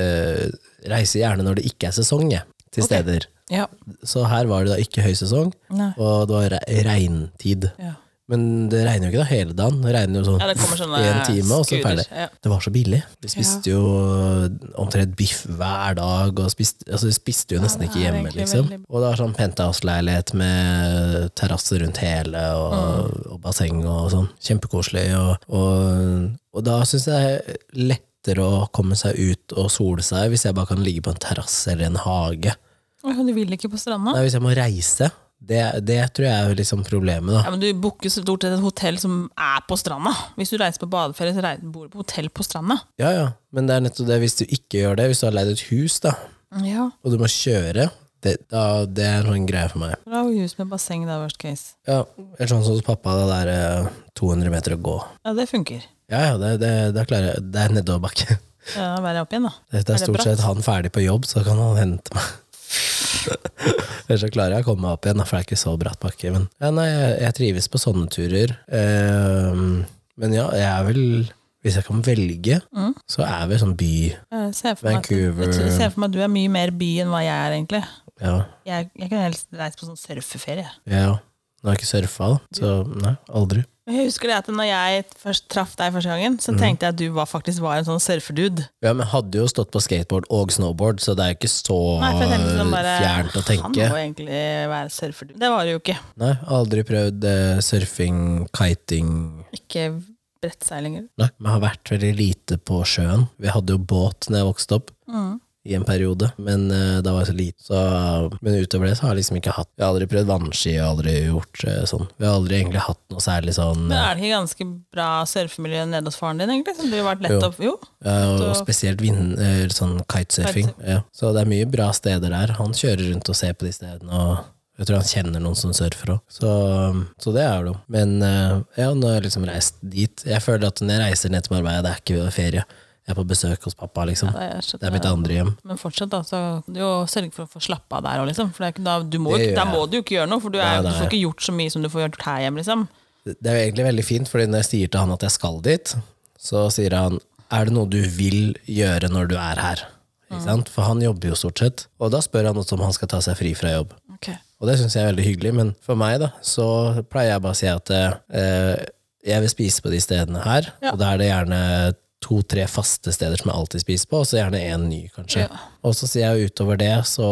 A: eh, Reiser gjerne når det ikke er sesong, jeg, til
B: Ok.
A: steder.
B: Ja.
A: Så her var det da ikke høysesong,
B: Nei.
A: og det var re regntid.
B: Ja.
A: Men det regner jo ikke da hele dagen. Det regner jo sånn
B: Ja, det kommer sånne
A: en time, og så
B: skuter,
A: ferdig.
B: Ja.
A: Det var så billig. Vi spiste jo eh, omtrent biff hver dag, og spiste, altså vi spiste jo nesten
B: det
A: ikke
B: er
A: hjemme,
B: egentlig
A: liksom.
B: veldig-
A: Og det var sånn penthouse-leilighet med terrasse rundt hele, og,
B: Mm.
A: og basseng og sånn. Kjempekoselig. Og, og, og da syns jeg det er lettere å komme seg ut og sole seg, hvis jeg bare kan ligge på en terrasse eller en hage.
B: Åh, Du vil ikke på stranda?
A: Nei, hvis jeg må reise. Det, det tror jeg er liksom problemet, da.
B: Ja, men Du booker stort sett et hotell som er på stranda. Hvis du reiser på badeferie, så reiser, bor du på hotell på stranda.
A: Ja, ja, men det er nettopp det hvis du ikke gjør det, hvis du har leid et hus da,
B: Ja,
A: og du må kjøre, det, da, det er en sånn greie for meg.
B: Bra hus med basseng, da, worst case.
A: Ja, eller sånn som hos pappa, det der eh, 200 meter å gå.
B: Ja, Det funker.
A: Ja, ja, det, det, da klarer jeg, [laughs] det er nedoverbakke.
B: Ja, Være opp igjen, da.
A: Det er
B: det
A: stort
B: bratt?
A: sett han ferdig på jobb, så kan han hente meg. [laughs] Ellers så klarer jeg å komme meg opp igjen, da, for det er ikke så bratt bakke. Men ja, nei, jeg, jeg trives på sånne turer. Eh, men ja, jeg er vel, hvis jeg kan velge,
B: Mm.
A: så er vi sånn by.
B: Jeg ser for meg at-
A: Vancouver.
B: Jeg ser for meg at du er mye mer by enn hva jeg er, egentlig.
A: Ja,
B: Jeg, jeg kan helst reise på sånn surfeferie.
A: Ja. Nå har jeg ikke surfa, da. Så nei, aldri.
B: Men Jeg husker det at når jeg først traff deg første gangen, så tenkte jeg at du var, faktisk var en sånn surferdude.
A: Ja, men hadde jo stått på skateboard og snowboard, så det er jo ikke så
B: Nei, for jeg tenkte sånn bare,
A: fjernt å
B: Han
A: tenke.
B: må jo egentlig være surferdude. Det var du jo ikke.
A: Nei, aldri prøvd eh, surfing, kiting
B: Ikke brettseilinger.
A: Nei, men jeg har vært veldig lite på sjøen. Vi hadde jo båt da jeg vokste opp.
B: Mm.
A: I en periode, men eh, da var jeg så liten. Så, men utover det så har jeg liksom ikke hatt Vi har aldri prøvd vannski, jeg har aldri gjort eh, sånn. Vi har aldri egentlig hatt noe særlig sånn
B: Men er det ikke ganske bra surfemiljø nede hos faren din, egentlig? Som du har vært lett
A: Jo.
B: opp Jo.
A: Ja, Eh, og,
B: Så-
A: og spesielt vind, eh, sånn kitesurfing. Ja. Så det er mye bra steder der. Han kjører rundt og ser på de stedene. og jeg tror han kjenner noen som surfer òg, så, um, så det er det jo. Men eh, ja, nå har jeg liksom reist dit. Jeg føler at når jeg reiser ned til Marbella, det er ikke ferie. Jeg er på besøk hos pappa, liksom.
B: Nei, jeg skjønner
A: Det er mitt
B: det.
A: andre hjem.
B: Men fortsatt, da, så du jo sørge for å få slappe av der òg, liksom. For det er ikke, da, du må, jo
A: Det
B: ikke-
A: gjør
B: da
A: jeg.
B: må du jo ikke gjøre noe, for du, er,
A: Nei,
B: du
A: nei.
B: får ikke gjort så mye som du får gjort her hjemme, liksom.
A: Det er jo egentlig veldig fint, fordi når jeg sier til han at jeg skal dit, så sier han er det noe du vil gjøre når du er her? Ikke sant? For han jobber jo stort sett. Og da spør han også om han skal ta seg fri fra jobb. Og det syns jeg er veldig hyggelig, men for meg da, så pleier jeg bare å si at eh, jeg vil spise på de stedene her,
B: Ja.
A: og da er det gjerne to-tre faste steder som jeg alltid spiser på, og så gjerne én ny, kanskje.
B: Ja.
A: Og så sier jeg utover det, så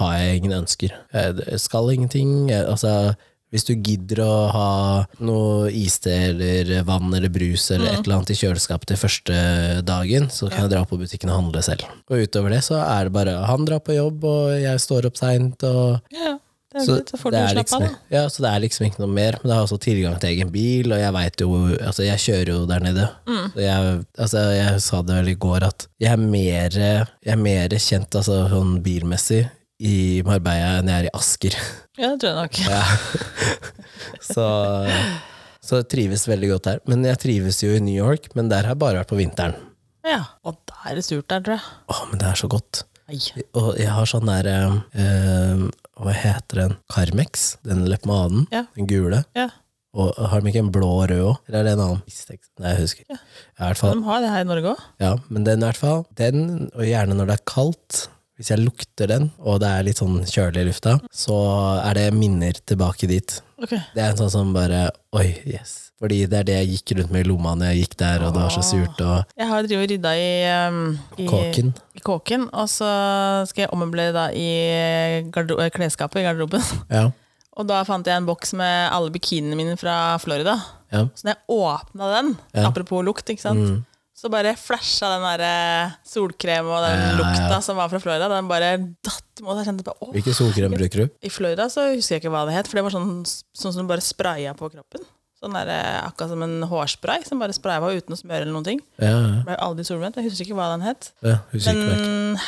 A: har jeg ingen ønsker. Jeg skal ingenting. Jeg, altså, hvis du gidder å ha noe iste eller vann eller brus eller
B: Mm.
A: et eller annet i kjøleskapet til første dagen, så kan jeg dra på butikken og handle selv. Og utover det så er det bare han drar på jobb, og jeg står opp seint, og
B: Ja, ja. Det er
A: så
B: greit, så får du
A: det er
B: slappe
A: liksom,
B: av, da.
A: Ja, så det er liksom ikke noe mer. Men jeg har også tilgang til egen bil, og jeg vet jo Altså, jeg kjører jo der nede.
B: Mm.
A: Så Jeg, altså, jeg sa det vel i går, at jeg er mer, jeg er mer kjent altså, sånn bilmessig i Marbella enn jeg er i Asker. [laughs]
B: Ja, det tror jeg nok.
A: Ja. så så jeg trives veldig godt der. Men jeg trives jo i New York, men der har jeg bare vært på vinteren.
B: Ja. Og da er det surt der, tror jeg.
A: Å, men det er så godt.
B: Ai.
A: Og jeg har sånn der eh, eh, Hva heter den? Carmex? Den leppemaden?
B: Ja.
A: Den gule?
B: Ja.
A: Og har de ikke en blå og rød òg? Eller er det en annen? Nei, jeg husker ikke. Ja, i hvert fall,
B: De har det her i Norge òg.
A: ja, men den i hvert fall. Den, og gjerne når det er kaldt, hvis jeg lukter den, og det er litt sånn kjølig i lufta, så er det minner tilbake dit. Det er en sånn som bare Oi, yes. Fordi det er det jeg gikk rundt med i lomma når jeg gikk der, og det var så surt, og
B: Jeg har drevet og rydda i, um, i
A: kåken.
B: i kåken, og så skal jeg ommøblere da i garder- eh, klesskapet i garderoben.
A: Ja.
B: Og da fant jeg en boks med alle bikiniene mine fra Florida.
A: Ja.
B: Så når jeg åpna den, apropos lukt, ikke sant?
A: Mm.
B: så bare flasha den der eh, solkrem og den
A: Ja, ja, ja.
B: lukta som var fra Florida. Den bare datt mot. Jeg kjente på, åh.
A: Hvilken solkrem bruker du?
B: I Florida så husker jeg ikke hva det het, for det var sånn, sånn som du bare spraya på kroppen. Sånn der, eh, Akkurat som en hårspray som bare spraya på uten å smøre eller noen ting.
A: Ja, ja,
B: Ble jo aldri solbrent. Jeg husker ikke hva den het.
A: ja. Husker ikke merke.
B: Men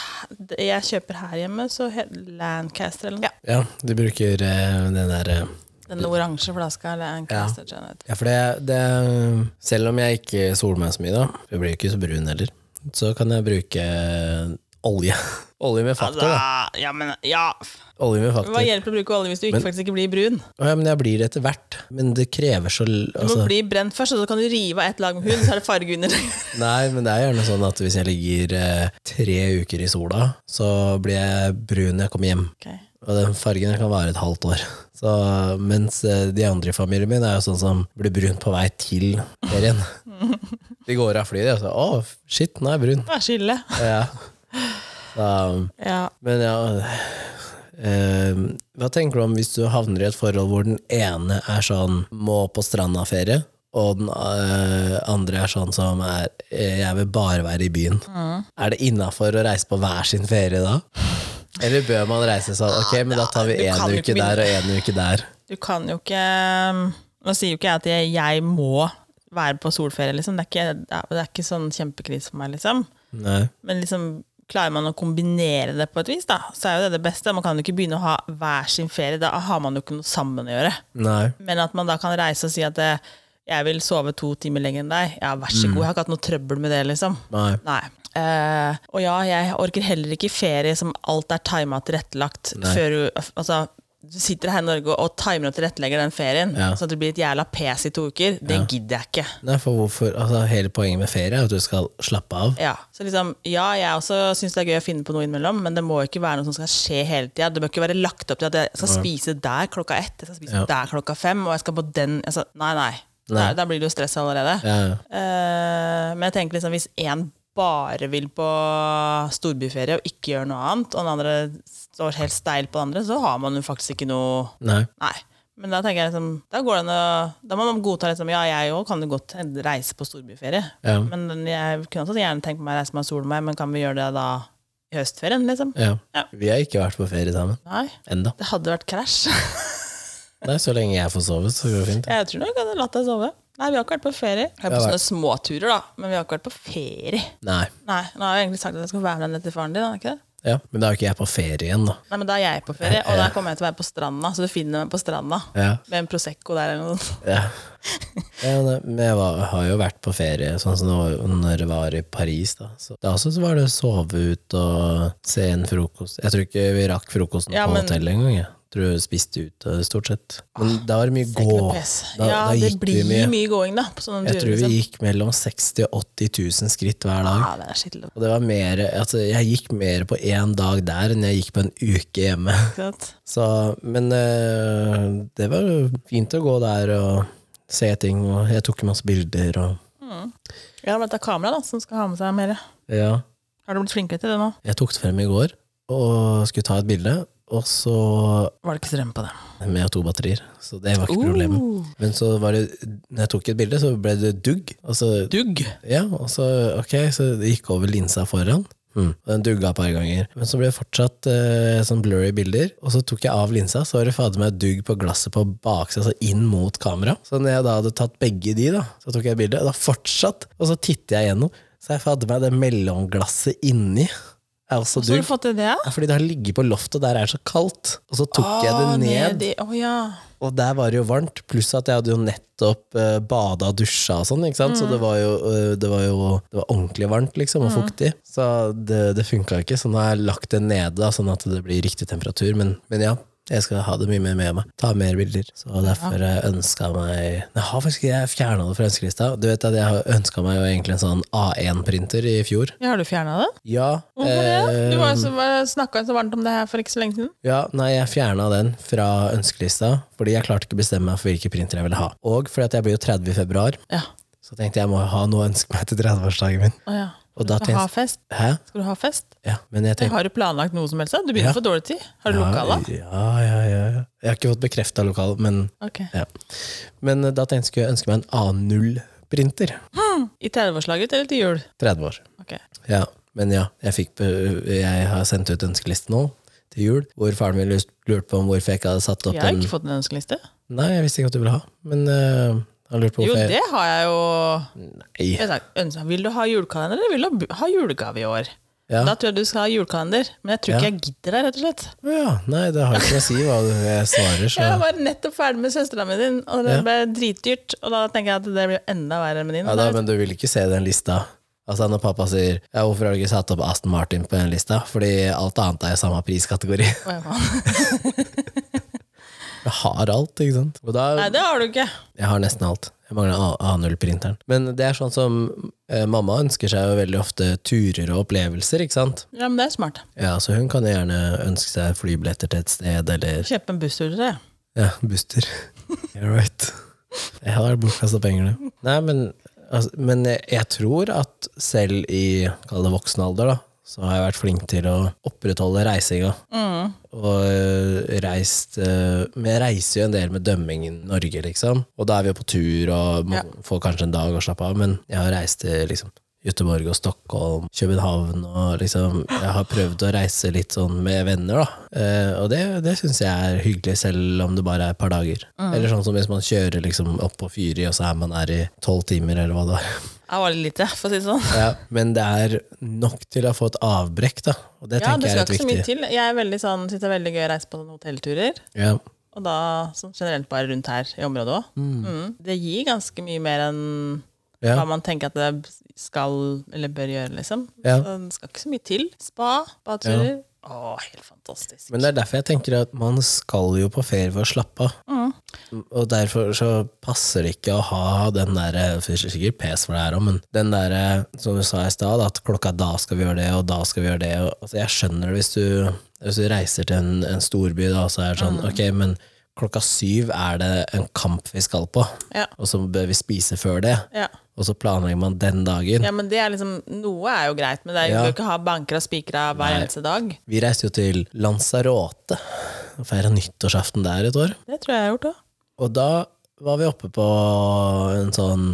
B: det jeg kjøper her hjemme, så het Lancaster eller noe.
A: Ja, du bruker eh, den der eh,
B: Den oransje flaska Lancaster. tror jeg den heter.
A: Ja, for det, det Selv om jeg ikke soler meg så mye, da, jeg blir jo ikke så brun heller, så kan jeg bruke olje. [laughs] Olje med faktor, da.
B: Da- Altså, Ja, men ja.
A: Olje med
B: Hva
A: faktor.
B: hjelper å bruke olje hvis du ikke, faktisk ikke blir brun?
A: Å, Ja, men jeg blir det etter hvert. Men det krever så l-
B: Du må
A: altså,
B: bli brent først, og så kan du rive av ett lag med hud, så er det farge under. [laughs]
A: Nei, men det er gjerne sånn at hvis jeg ligger eh, tre uker i sola, så blir jeg brun når jeg kommer hjem.
B: Ok,
A: Og den fargen kan være et halvt år. [laughs] Så, mens eh, de andre i familien min er jo sånn som blir brun på vei til
B: [laughs]
A: ferien. De går av flyet og sier 'Å, shit, nå er jeg brun'.
B: Det er skille.
A: Ja. Så,
B: Ja.
A: men ja eh, Hva tenker du om hvis du havner i et forhold hvor den ene er sånn 'må på stranda-ferie', og den eh, andre er sånn som er eh, 'jeg vil bare være i byen'?
B: Mm.
A: Er det innafor å reise på hver sin ferie da? Eller bør man reise sånn 'ok, men da tar vi
B: Du Ah, kan
A: én
B: jo
A: uke
B: ikke
A: der og én uke der'?
B: Du kan jo ikke um, Nå sier jo ikke jeg at jeg, jeg må være på solferie, liksom. Det er ikke, det er, det er ikke sånn kjempekrise for meg, liksom.
A: Nei.
B: Men liksom, klarer man å kombinere det på et vis, da, så er jo det det beste. Man kan jo ikke begynne å ha hver sin ferie. Da har man jo ikke noe sammen å gjøre.
A: Nei.
B: Men at man da kan reise og si at eh, jeg vil sove to timer lenger enn deg. Ja, vær så god. Jeg har ikke hatt noe trøbbel med det, liksom.
A: Nei.
B: Nei. Eh, og ja, jeg orker heller ikke ferie som alt er tima og tilrettelagt før du Altså, du sitter her i Norge og timer og tilrettelegger den ferien,
A: Ja.
B: så at det blir et jævla pes i to uker. Det gidder jeg ikke.
A: Nei, for hvorfor altså, Hele poenget med ferie er at du skal slappe av.
B: Ja, så liksom, ja, jeg også syns det er gøy å finne på noe innimellom, men det må jo ikke være noe som skal skje hele tida. Det bør ikke være lagt opp til at jeg skal spise der klokka ett, jeg skal spise
A: Ja.
B: der klokka fem, og jeg skal på den altså, Nei, nei.
A: Nei.
B: Da- Da blir det jo stress allerede.
A: Ja, ja.
B: Eh, men jeg tenker liksom, hvis én bare vil på storbyferie og ikke gjør noe annet, og den andre står helt steil på den andre, så har man jo faktisk ikke noe
A: Nei.
B: Nei. Men da tenker jeg liksom, da, går det an å, da må man godta liksom, ja, jeg òg kan jo godt reise på storbyferie.
A: Ja.
B: Men jeg kunne også gjerne tenkt meg å reise meg og sole meg, men kan vi gjøre det da i høstferien, liksom?
A: Ja.
B: Ja.
A: Vi har ikke vært på ferie sammen
B: Nei.
A: enda.
B: Det hadde vært krasj. [laughs]
A: Nei, så lenge jeg får sove, så går det fint.
B: Jeg tror nok jeg hadde latt deg sove. Nei, vi har ikke vært på ferie. Vi har vært
A: Ja,
B: på sånne småturer, da, men vi har ikke vært på ferie.
A: Nei.
B: Nei, nå har jeg egentlig sagt at jeg skal være med deg ned til faren din, har jeg ikke det?
A: Ja, men da er jo ikke jeg på ferie igjen, da.
B: Nei, men da er jeg på ferie, og da kommer jeg til å være på stranda, så du finner meg på stranda.
A: Ja.
B: Med en Prosecco der eller noe sånt.
A: ja. ja nei, men jeg var, har jo vært på ferie, sånn som det var- når jeg var i Paris, da. Så, da også så var det å sove ut og se en frokost. Jeg tror ikke vi rakk frokosten
B: Ja,
A: på
B: men-
A: hotellet engang, jeg. Tror vi spiste ute, stort sett. Men da var det mye
B: Ikke noe
A: gå.
B: press.
A: Da,
B: ja,
A: da
B: det
A: gikk vi
B: blir mye.
A: mye.
B: gåing, da, på sånne
A: Jeg
B: turer.
A: tror vi
B: liksom.
A: gikk mellom 60 og 80 000 skritt hver dag.
B: Ja, det er skittelig.
A: Og det var mer, altså jeg gikk mer på én dag der enn jeg gikk på en uke hjemme. [laughs]
B: Ikke sant?
A: Så, men eh, det var jo fint å gå der og se ting, og jeg tok masse bilder og
B: Ja, men dette er kamera da, som skal ha med seg mer.
A: Ja.
B: Har du blitt flinkere til det nå?
A: Jeg tok det frem i går og skulle ta et bilde, og så
B: Var det ikke strøm på det?
A: Med to batterier, så det var ikke problemet.
B: Oh.
A: Men så var det Når jeg tok et bilde, så ble det dugg. Altså, Og så,
B: Dugg.
A: ja, og så, ok, så det gikk over linsa foran. Mm. Og Den dugga et par ganger. Men så ble det fortsatt eh, sånn blurry bilder. Og så tok jeg av linsa, så var det fader meg dugg på glasset på baksida, altså inn mot kamera. Så når jeg da hadde tatt begge de, da, så tok jeg bildet, og da fortsatt. Og så titter jeg gjennom, så jeg fader meg det mellomglasset inni er også
B: Så har
A: dugg.
B: du fått til det?
A: Ja, Fordi det har ligget på loftet, og der er det så kaldt. Og så tok jeg det ned,
B: i- Å ja.
A: og der var det jo varmt. Pluss at jeg hadde jo nettopp uh, bada og dusja og sånn, ikke sant.
B: Mm.
A: Så det var jo, eh, det var jo det var ordentlig varmt, liksom, og fuktig. Så det, det funka ikke. Så nå har jeg lagt det nede, da, sånn at det blir riktig temperatur. Men, men ja. Jeg skal ha det mye mer med meg. Ta mer bilder. Så derfor jeg ønska meg Jeg har faktisk jeg fjerna det fra ønskelista. Du vet at jeg ønska meg jo egentlig en sånn A1-printer i fjor.
B: ja. Har du fjerna det?
A: Ja.
B: Hvorfor det? Du
A: eh,
B: var jo så, var- snakket så varmt om det her for ikke så lenge siden.
A: Ja, nei, jeg fjerna den fra ønskelista, fordi jeg klarte ikke å bestemme meg for hvilke printer jeg ville ha. Og fordi at jeg blir jo 30 i februar,
B: Ja.
A: så tenkte jeg må ha noe å ønske meg til 30-årsdagen min.
B: Å ja.
A: Og da
B: Skal du ha
A: tenkte
B: fest?
A: Hæ?
B: Skal du ha fest?
A: Ja, men jeg tenkte
B: Har du planlagt noe som helst? da? Du
A: Ja.
B: begynner å få dårlig tid. Har du lokala?
A: Ja, ja, ja, ja. Jeg har ikke fått bekrefta lokalet, men,
B: Ok.
A: ja. men eh, da tenkte jeg skulle ønske meg en A0-printer.
B: I 30-årslaget eller til jul?
A: 30 år.
B: Ok.
A: Ja, men ja, jeg, fikk, be- jeg har sendt ut ønskeliste nå til jul, hvor faren min lurte på om hvorfor jeg ikke hadde satt opp
B: Jeg har
A: en
B: ikke fått en ønskeliste.
A: Nei, jeg visste ikke at du ville ha, men øh, han lurte på
B: Jo,
A: hvorfor jeg
B: det har jeg jo.
A: Nei.
B: Jeg sa, ønsker- Vil du ha julekalender, eller vil du ha bu- ha julegave i år?
A: Ja.
B: Da tror jeg du skal ha julekalender, men jeg tror ikke jeg gidder det, rett og slett.
A: ja, nei, det har ikke noe å si hva jeg svarer, så
B: [laughs] Jeg var nettopp ferdig med søstera mi din, og det
A: Ja.
B: ble dritdyrt. Og da tenker jeg at det blir enda verre med din.
A: ja, da, Men du vil ikke se den lista? Altså Når pappa sier ja, 'hvorfor har du ikke satt opp Aston Martin på den lista', fordi alt annet er i samme priskategori.
B: Å, ja, faen.
A: [laughs] Jeg har alt, ikke sant? Og da,
B: Nei, det har du ikke.
A: jeg har nesten alt. Jeg mangler A- A0-printeren. Men det er sånn som eh, mamma ønsker seg jo veldig ofte turer og opplevelser, ikke sant?
B: Ja, men det er smart.
A: Ja, så hun kan jo gjerne ønske seg flybilletter til et sted, eller
B: Kjøpe en busstur til det.
A: ja, busser. [laughs] You're right. Jeg har bortkasta penger, det. Nei, men, altså, men jeg, jeg tror at selv i kall det voksen alder, da, så har jeg vært flink til å opprettholde reisinga.
B: Mm.
A: Og øh, reist øh, Men jeg reiser jo en del med dømmingen Norge, liksom. Og da er vi jo på tur og må,
B: Ja.
A: får kanskje en dag å slappe av, men jeg har reist til liksom Göteborg og Stockholm, København og liksom Jeg har prøvd å reise litt sånn med venner, da. Eh, og det, det syns jeg er hyggelig, selv om det bare er et par dager.
B: Mm.
A: Eller sånn som hvis man kjører liksom opp på Fyri, og så er man her i tolv timer, eller hva det var.
B: Det var litt lite, for å si det sånn.
A: [laughs] Ja, men det er nok til å få et avbrekk, da. Og det
B: Ja,
A: tenker
B: det
A: jeg
B: skal
A: er
B: ikke
A: litt
B: så mye
A: viktig.
B: til. Jeg er veldig sånn, synes det er veldig gøy å reise på sånne hotellturer.
A: Ja.
B: Og da sånn generelt bare rundt her i området òg. Mm. Det gir ganske mye mer enn
A: Ja.
B: hva man tenker at det skal eller bør gjøre, liksom.
A: Ja.
B: Så det skal ikke så mye til. Spa, badeturer. Å, helt fantastisk.
A: Men det er derfor jeg tenker at man skal jo på ferie for å slappe av. Og derfor så passer det ikke å ha den der eh, for det er Sikkert pes for det her òg, men den der eh, som du sa i stad, at klokka da skal vi gjøre det, og da skal vi gjøre det. Og, altså, jeg skjønner det hvis du, hvis du reiser til en, en storby, da, så er det sånn ok, men klokka syv er det en kamp vi skal på,
B: Ja.
A: og så bør vi spise før det.
B: Ja.
A: Og så planlegger man den dagen.
B: ja, men det er liksom Noe er jo greit, men det er,
A: Ja.
B: du bør ikke ha banker og spikra hver eneste dag.
A: Vi reiste jo til Lanzarote og feira nyttårsaften der et år.
B: Det tror jeg jeg har gjort òg.
A: Og da var vi oppe på en sånn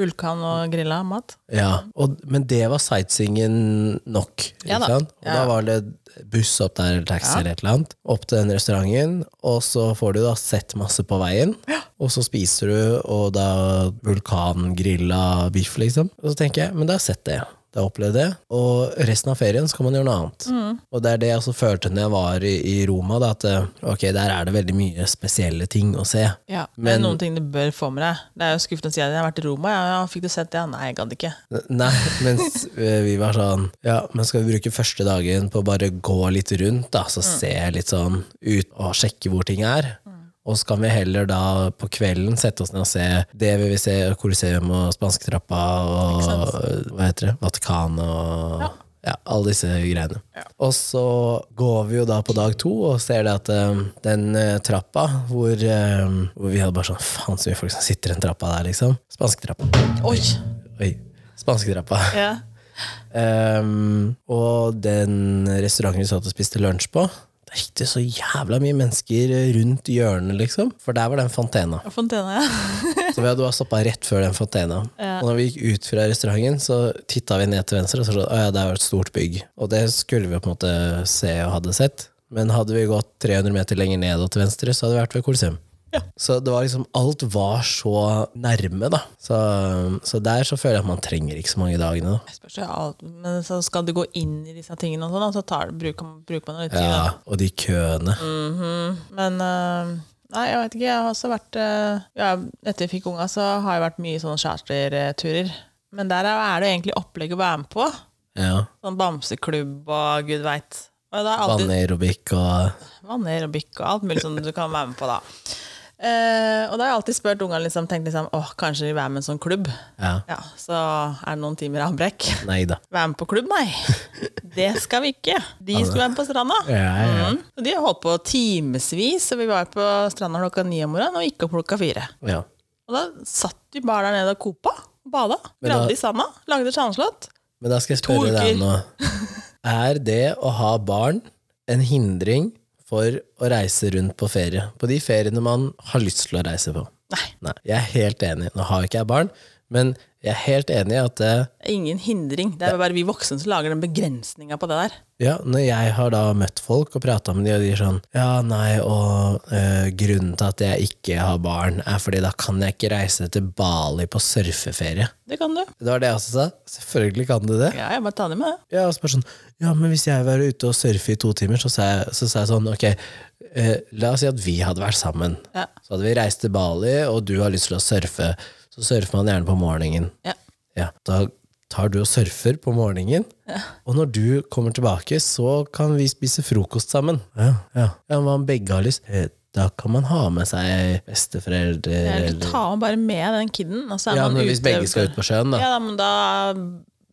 B: Vulkan og grilla mat.
A: Ja, og, men det var sightseeingen nok. Ikke
B: Ja da.
A: sant? Og
B: Ja.
A: da var det buss opp der, eller taxi eller et eller annet, opp til den restauranten, og så får du da sett masse på veien, og så spiser du, og da vulkangrilla biff, liksom. Og så tenker jeg, men da har jeg sett det. Da har jeg opplevd det, og resten av ferien skal man gjøre noe annet.
B: Mm.
A: Og det er det jeg også følte når jeg var i, i Roma, da, at eh, ok, der er det veldig mye spesielle ting å se.
B: Ja, det
A: Men-
B: er noen ting du bør få med deg. Det er jo skuffende å si at jeg har vært i Roma. Ja, ja, fikk du sett det? Ja, Nei, jeg gadd ikke.
A: Nei, mens eh, vi var sånn Ja, men skal vi bruke første dagen på å bare gå litt rundt, da, så se litt sånn ut og sjekke hvor ting er? Og så kan vi heller da på kvelden sette oss ned og se det vi vil se, Coliseum og Spansketrappa og hva heter det, Vatikanet og ja. alle disse greiene. Og så går vi jo da på dag to og ser det at eh, den eh, trappa hvor, eh, hvor vi hadde bare sånn Faen så mye folk som sitter i den trappa der, liksom. Spansketrappa.
B: Oi!
A: Oi. Spansketrappa.
B: Ja.
A: Ehm, og den restauranten vi satt og spiste lunsj på, der gikk det så jævla mye mennesker rundt hjørnet, liksom. For der var den fontena.
B: Fontena, ja. [laughs]
A: Så vi hadde bare stoppa rett før den fontena. Og når vi gikk ut fra restauranten, så titta vi ned til venstre, og så sa vi ja, det var et stort bygg. Og det skulle vi på en måte se og hadde sett. Men hadde vi gått 300 meter lenger ned og til venstre, så hadde vi vært ved Colosseum. Så det var liksom, alt var så nærme, da. Så, så der så føler jeg at man trenger ikke så mange dagene. da.
B: Jeg spørs jo alt, men så skal du gå inn i disse tingene og sånn, og så tar, bruker, man- bruker man jo litt tid.
A: Ja,
B: da.
A: og de køene.
B: Men øh, nei, jeg vet ikke. Jeg har også vært øh, ja, Etter jeg fikk unga, så har jeg vært mye sånne charterturer. Men der er er det jo egentlig opplegg å være med på.
A: Ja.
B: Sånn bamseklubb og gud veit. Og det er alltid
A: Vannaerobikk og
B: Vannaerobikk og alt mulig som du kan være med på, da. Eh, og da har jeg alltid spurt ungene liksom, tenkt liksom, åh, kanskje de vil være med i en sånn klubb.
A: ja.
B: Ja, Så er det noen timer avbrekk.
A: Nei da.
B: Være med på klubb, nei. Det skal vi ikke. De skulle være med på stranda.
A: Ja,
B: Mm. Og de har holdt på timevis, og vi var på stranda klokka ni om morgenen og gikk opp klokka fire.
A: ja.
B: Og da satt de bare der nede og kopa, bada,
A: Men da-
B: gravde i sanda, lagde sandslott.
A: Men da skal jeg spørre deg
B: uker.
A: nå. Er det å ha barn en hindring for å reise rundt på ferie? På de feriene man har lyst til å reise på?
B: Nei,
A: Nei, jeg er helt enig. Nå har ikke jeg barn, men jeg er helt enig i at eh,
B: det er ingen hindring. Det er bare vi voksne som lager den begrensninga på det der.
A: Ja, når jeg har da møtt folk og prata med de, og de er sånn Ja, nei, og eh, grunnen til at jeg ikke har barn, er fordi da kan jeg ikke reise til Bali på surfeferie.
B: Det kan du.
A: Det var det jeg også sa. Selvfølgelig kan du det.
B: Ja, jeg bare tar det med det.
A: Ja, og så bare sånn, ja, men hvis jeg var ute og surfe i to timer, så sa jeg, så sa jeg sånn, ok, eh, la oss si at vi hadde vært sammen.
B: Ja.
A: Så hadde vi reist til Bali, og du har lyst til å surfe, så surfer man gjerne på morgenen.
B: Ja.
A: Ja, da tar du og surfer på morgenen, og når du kommer tilbake, så kan vi spise frokost sammen. Ja, ja. Ja, men hva om begge har lyst? Eh, Da kan man ha med seg besteforeldre
B: Eller
A: eller-
B: ta bare med den kiden. Og så er
A: Ja,
B: man
A: men hvis
B: ute-
A: begge skal ut på sjøen, da.
B: Ja, da, men da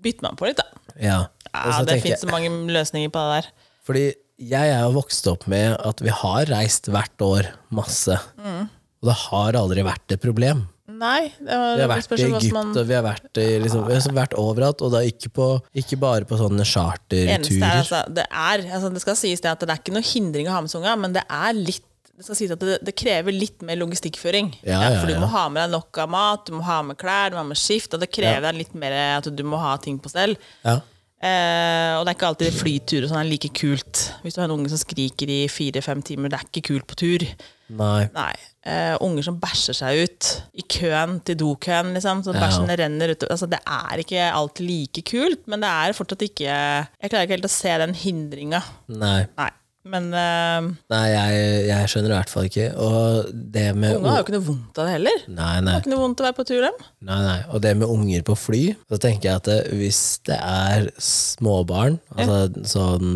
B: bytter man på litt, da.
A: Ja. Og
B: Ja,
A: så tenker
B: det
A: jeg-
B: finnes så mange løsninger på det der.
A: Fordi jeg er jo vokst opp med at vi har reist hvert år masse. Og det har aldri vært et problem.
B: Nei, det
A: Vi
B: var
A: har
B: det
A: vært i
B: spørs jo hva som
A: Egypt,
B: man...
A: og vi har vært, i, liksom, vi har vært overalt. Og da ikke, på, ikke bare på sånne
B: eneste er,
A: charterturer.
B: altså, det er altså, Det skal sies det at det er ikke noe hindring å ha med seg unger, men det er litt det skal sies at det, det krever litt mer logistikkføring.
A: Ja, ja,
B: for du
A: ja.
B: må ha med deg nok av mat, du må ha med klær, du må ha med skift. Og det krever litt mer at du må ha ting på stell.
A: Ja.
B: Eh, og det er ikke alltid flyturer og sånn er like kult. Hvis du har en unge som skriker i fire-fem timer, det er ikke kult på tur.
A: Nei.
B: Nei. Eh, unger som bæsjer seg ut i køen til dokøen, liksom. Så
A: Ja.
B: bæsjene renner ut. Altså, det er ikke alt like kult, men det er fortsatt ikke Jeg klarer ikke helt å se den hindringa.
A: Nei.
B: Nei. Men eh,
A: Nei, jeg, jeg skjønner i hvert fall ikke. Og det med
B: unger har jo ikke noe vondt av det heller. Det
A: Nei, nei.
B: har ikke noe vondt av å være på tur, dem.
A: Nei, nei. Og det med unger på fly, så tenker jeg at det, hvis det er småbarn, altså sånn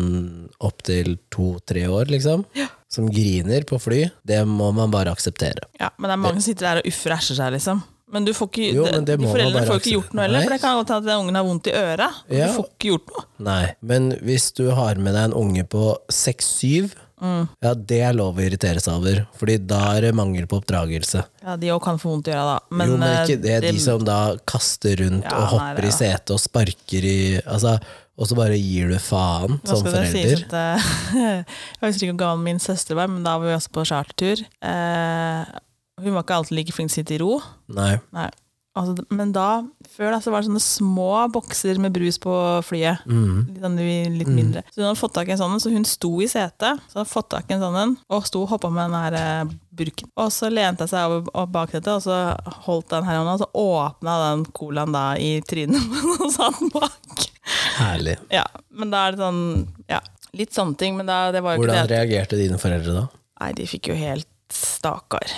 A: opptil to-tre år, liksom, som griner på fly, det må man bare akseptere.
B: Ja, men det er mange som sitter der og uffer og æsjer seg, liksom. Men du får ikke,
A: Jo, men det
B: de
A: må man
B: foreldrene
A: bare
B: får ikke gjort noe heller,
A: akseptere.
B: for det kan godt hende at den ungen har vondt i øra. og
A: Ja.
B: Du får ikke gjort noe.
A: Nei. Men hvis du har med deg en unge på seks-syv,
B: Mm.
A: ja, det er lov å irritere seg over, fordi da er det mangel på oppdragelse.
B: Ja, De òg kan få vondt i øra, da. Men,
A: jo, men
B: eh,
A: ikke det, de
B: det-
A: som da kaster rundt
B: Ja,
A: og
B: nei,
A: hopper
B: det
A: i
B: da.
A: setet og sparker i altså, Og så bare gir du faen
B: Nå
A: som
B: skal det sies
A: forelder.
B: at, eh, [laughs] jeg husker ikke hvor gammel min søster var, men da var vi også på chartertur. Eh, hun var ikke alltid like flink til å sitte i ro.
A: Nei.
B: Nei. Altså, men da, før da, så var det sånne små bokser med brus på flyet. Litt, sånn, litt mindre. Så hun hadde fått tak i en sånn en, så hun sto i setet, så hadde hun fått tak i en sånn en, og sto og hoppa med den her eh, burken. Og så lente jeg seg over over baksetet, og så holdt den her hånda, og så åpna den colaen da i trynet [laughs] på den, og satt den bak.
A: Herlig.
B: Ja, men da er det sånn Ja, litt sånne ting, men da, det var jo
A: Hvordan
B: ikke det.
A: reagerte dine foreldre da?
B: Nei, de fikk jo helt Stakkar.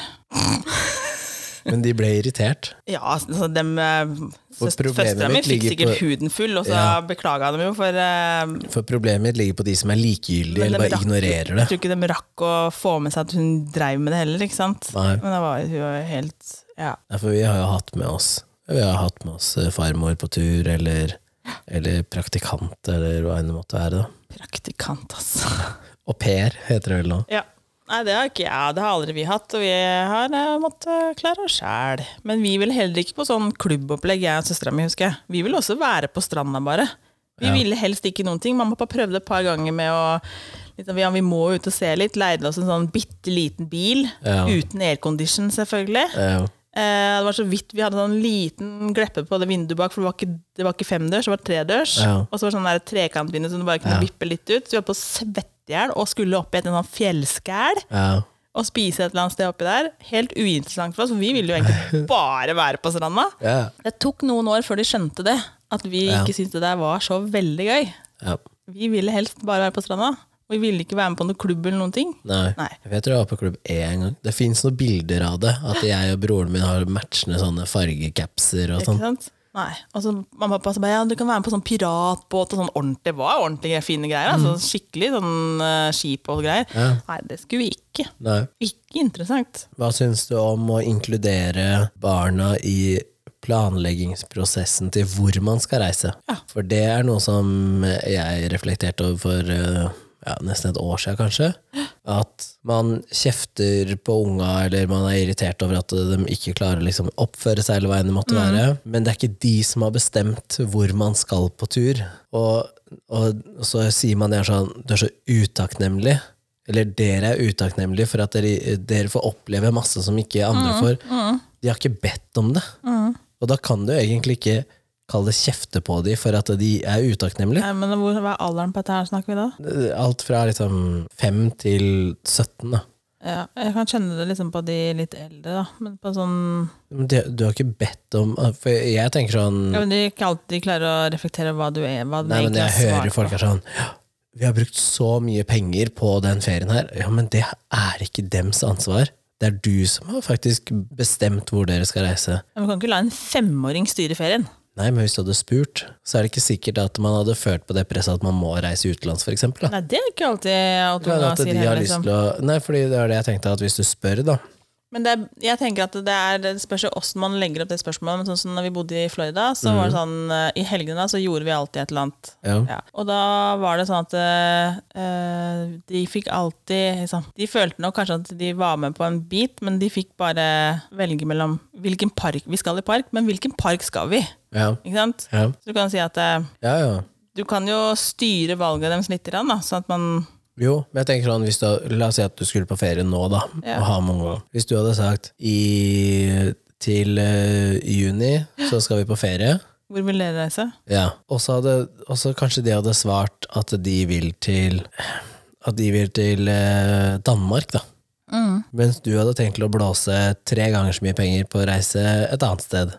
A: Men de ble irritert.
B: Ja, altså dem eh,
A: For
B: søst-
A: problemet
B: Søstera mi
A: mitt
B: fikk
A: ligger
B: sikkert
A: på-
B: huden full, og så
A: Ja.
B: beklaga dem jo for eh, men
A: For problemet mitt ligger på de som er likegyldige
B: dem
A: eller bare
B: rakk-
A: ignorerer
B: Jeg
A: det.
B: tror ikke de rakk å få med seg at hun dreiv med det heller, ikke sant.
A: Nei.
B: Men da var hun jo helt Ja.
A: Ja, for vi har jo hatt med oss Vi har hatt med oss eh, farmor på tur, eller, eller praktikant, eller hva enn det måtte være. da.
B: Praktikant, altså.
A: Au pair heter det vel nå.
B: Ja. Nei, det har ikke jeg. Det har aldri vi hatt, og vi har eh, måttet klare oss sjæl. Men vi ville heller ikke på sånn klubbopplegg, jeg og søstera mi, husker jeg. Vi ville også være på stranda, bare. Vi ville helst ikke noen ting. Mamma og pappa prøvde et par ganger med å liksom, ja, Vi må ut og se litt. Leide oss en sånn bitte liten bil,
A: Ja.
B: uten aircondition, selvfølgelig.
A: Eh,
B: Eh, det var så vidt vi hadde sånn liten gleppe på det vinduet bak, for det var ikke, det var ikke femdørs, det var tredørs.
A: Ja.
B: Og så var det sånn der trekantvindu som du bare kunne vippe litt ut. Så vi var på svette i hjel og skulle opp i et en sånn fjellskæl
A: ja.
B: og spise et eller annet sted oppi der. Helt uinteressant for oss, for vi ville jo
A: [laughs]
B: egentlig bare være på stranda.
A: Ja.
B: Det tok noen år før de skjønte det, at vi
A: Ja.
B: ikke syntes det der var så veldig gøy.
A: ja.
B: Vi ville helst bare være på stranda. Vi ville ikke være med på noen klubb eller noen ting.
A: Nei.
B: Nei.
A: Jeg tror jeg var på klubb E en gang. Det fins noen bilder av det. At jeg og broren min har matchende sånne fargecapser og
B: Ikke
A: sånn.
B: sant? Nei. Og så mamma og pappa sa bare, ja, du kan være med på sånn piratbåt og sånn ordentlig. Det var ordentlig fine greier. Altså, skikkelig sånn eh, skip og greier.
A: Mm. Ja.
B: Nei, det skulle vi ikke.
A: Nei.
B: Ikke interessant.
A: Hva syns du om å inkludere barna i planleggingsprosessen til hvor man skal reise?
B: Ja.
A: For det er noe som jeg reflekterte over for eh, ja, nesten et år siden, kanskje. At man kjefter på unga, eller man er irritert over at de ikke klarer å liksom oppføre seg, eller hva enn det måtte være. Men det er ikke de som har bestemt hvor man skal på tur. Og, og så sier man det er sånn Du er så utakknemlig. Eller dere er utakknemlige for at dere, dere får oppleve masse som ikke
B: Mm,
A: andre får. De har ikke bedt om det. Og da kan du egentlig ikke kalle det kjefte på dem for at de er utakknemlige.
B: Nei, men hvor, hva er alderen på dette her, snakker vi da?
A: Alt fra liksom 5 til 17. Da.
B: Ja, jeg kan skjønne det liksom på de litt eldre, da. Men på sånn
A: Men det- Du har ikke bedt om For jeg tenker sånn
B: ja, men De ikke alltid klarer å reflektere hva du er. Hva
A: Nei, men jeg hører folk
B: på.
A: er sånn «Ja, Vi har brukt så mye penger på den ferien her. Ja, men det er ikke dems ansvar. Det er du som har faktisk bestemt hvor dere skal reise.
B: Ja, men Du kan ikke la en femåring styre ferien.
A: Nei, men hvis du hadde spurt, så er det ikke sikkert at man hadde følt på det presset at man må reise utenlands, for eksempel. Da.
B: Nei, det er ikke alltid at
A: Men
B: unga
A: at
B: sier
A: de har
B: heller.
A: lyst
B: Liksom.
A: til å Nei, fordi det er det jeg tenkte, at hvis du spør, da
B: Men det, er- jeg tenker at det, er, det spørs jo åssen man legger opp det spørsmålet. Men sånn som når vi bodde i Florida, så var det sånn eh, I helgene så gjorde vi alltid et eller annet.
A: Ja.
B: Ja. Og da var det sånn at eh, eh, de fikk alltid liksom, De følte nok kanskje at de var med på en bit, men de fikk bare velge mellom hvilken park Vi skal i park, men hvilken park skal vi?
A: Ja.
B: Ikke sant?
A: Ja,
B: Så du kan si at eh,
A: ja. ja.
B: du kan jo styre valget deres litt, grann, da, sånn at man
A: Jo, men jeg tenker sånn, hvis du, la oss si at du skulle på ferie nå, da,
B: Ja.
A: og ha mange Hvis du hadde sagt i, til eh, juni så skal vi på ferie,
B: Hvor vil dere reise?
A: ja. og så hadde og så kanskje de hadde svart at de vil til At de vil til eh, Danmark, da. Mens du hadde tenkt til å blåse tre ganger så mye penger på å reise et annet sted.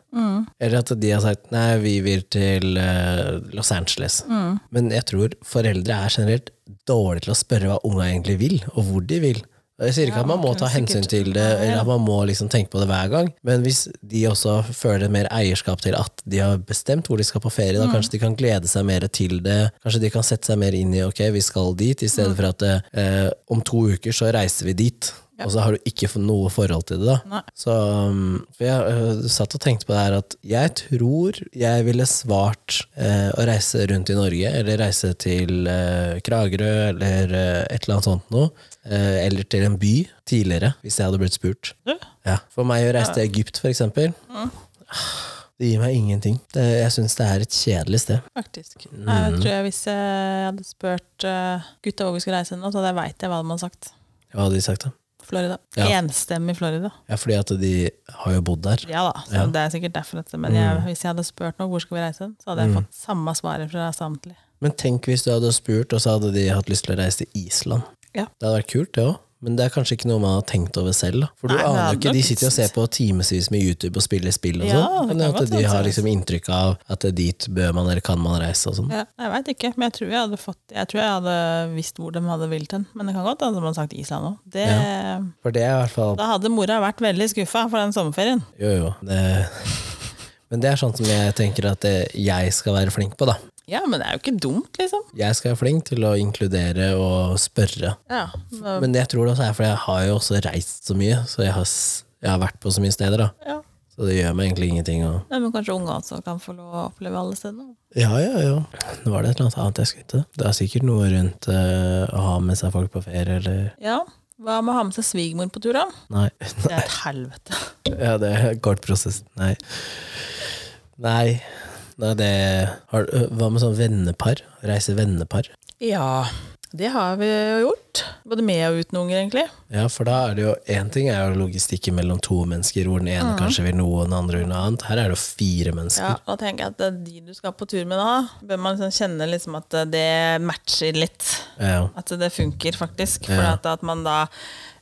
A: Eller at de har sagt nei, vi vil til eh, Los Angeles. Men jeg tror foreldre er generelt dårlige til å spørre hva unga egentlig vil, og hvor de vil. Jeg sier ikke at man må ta hensyn til det, eller at man må liksom tenke på det hver gang, men hvis de også føler mer eierskap til at de har bestemt hvor de skal på ferie, da kanskje de kan glede seg mer til det, kanskje de kan sette seg mer inn i ok, vi skal dit, i stedet for at eh, om to uker så reiser vi dit, og så har du ikke fått noe forhold til det da.
B: Nei.
A: Så um, for jeg øh, satt og tenkte på det her at jeg tror jeg ville svart eh, å reise rundt i Norge, eller reise til eh, Kragerø, eller eh, et eller annet sånt noe, eh, eller til en by tidligere, hvis jeg hadde blitt spurt.
B: Du?
A: Ja. For meg å reise til Egypt, for eksempel, det gir meg ingenting. Det, jeg syns det er et kjedelig sted.
B: Faktisk. Nei, Jeg tror jeg Hvis eh, jeg hadde spurt eh, gutta hvor vi skulle reise nå, så hadde jeg veit jeg hva de hadde sagt.
A: Hva hadde de sagt da?
B: Florida.
A: Ja.
B: Enstemmig Florida.
A: Ja, fordi at de har jo bodd der.
B: Ja Mm. da, så det er sikkert derfor. At, men jeg, hvis jeg hadde spurt noe, hvor skal vi reise, hen, så hadde jeg fått samme svaret fra samtlige.
A: Men tenk hvis du hadde spurt, og så hadde de hatt lyst til å reise til Island.
B: Ja.
A: Det hadde vært kult, det òg. Men det er kanskje ikke noe man har tenkt over selv. da. For du
B: Nei, det
A: aner
B: hadde
A: jo ikke,
B: nok
A: De sitter jo og ser på timevis med YouTube og spiller spill og
B: Ja,
A: sånn.
B: det
A: Men
B: kan
A: at
B: godt
A: de
B: hende,
A: har
B: altså.
A: liksom inntrykk av at det er dit bør man eller kan man reise og sånn.
B: Ja, jeg veit ikke, men jeg tror jeg hadde fått Jeg tror jeg hadde visst hvor de hadde vilt hen. Men det kan godt hende de hadde sagt Island òg. Det-
A: For det er i hvert fall
B: Da hadde mora vært veldig skuffa for den sommerferien.
A: Jo, jo. Det, [laughs] men det er sånn som jeg tenker at det, jeg skal være flink på, da.
B: Ja, men det er jo ikke dumt, liksom.
A: Jeg skal være flink til å inkludere og spørre.
B: Ja, men,
A: Men jeg tror det også er fordi jeg har jo også reist så mye, så jeg har, s- jeg har vært på så mye steder, da.
B: ja.
A: Så det gjør meg egentlig ingenting. å...
B: Nei, men kanskje unge også kan få lov å oppleve alle stedene.
A: Ja, ja, ja. Nå var det et eller annet annet jeg skulle til. Det er sikkert noe rundt eh, å ha med seg folk på ferie, eller
B: Ja. Hva med å ha med seg svigermor på tur, da?
A: Nei. [laughs]
B: Det er et helvete.
A: ja, det er kort prosess. Nei. Nei. Nei, det har, øh, Hva med sånn vennepar? Reise vennepar?
B: Ja, det har vi jo gjort. Både med og uten unger, egentlig.
A: Ja, for da er det jo én ting er jo logistikken mellom to mennesker, hvor den ene kanskje vil noe, og den andre vil noe annet. Her er det jo fire
B: Ja,
A: mennesker.
B: da tenker jeg at det er de du skal på tur med da, bør man liksom kjenne liksom at det matcher litt.
A: Ja. ja.
B: At det funker, faktisk. For at, at man da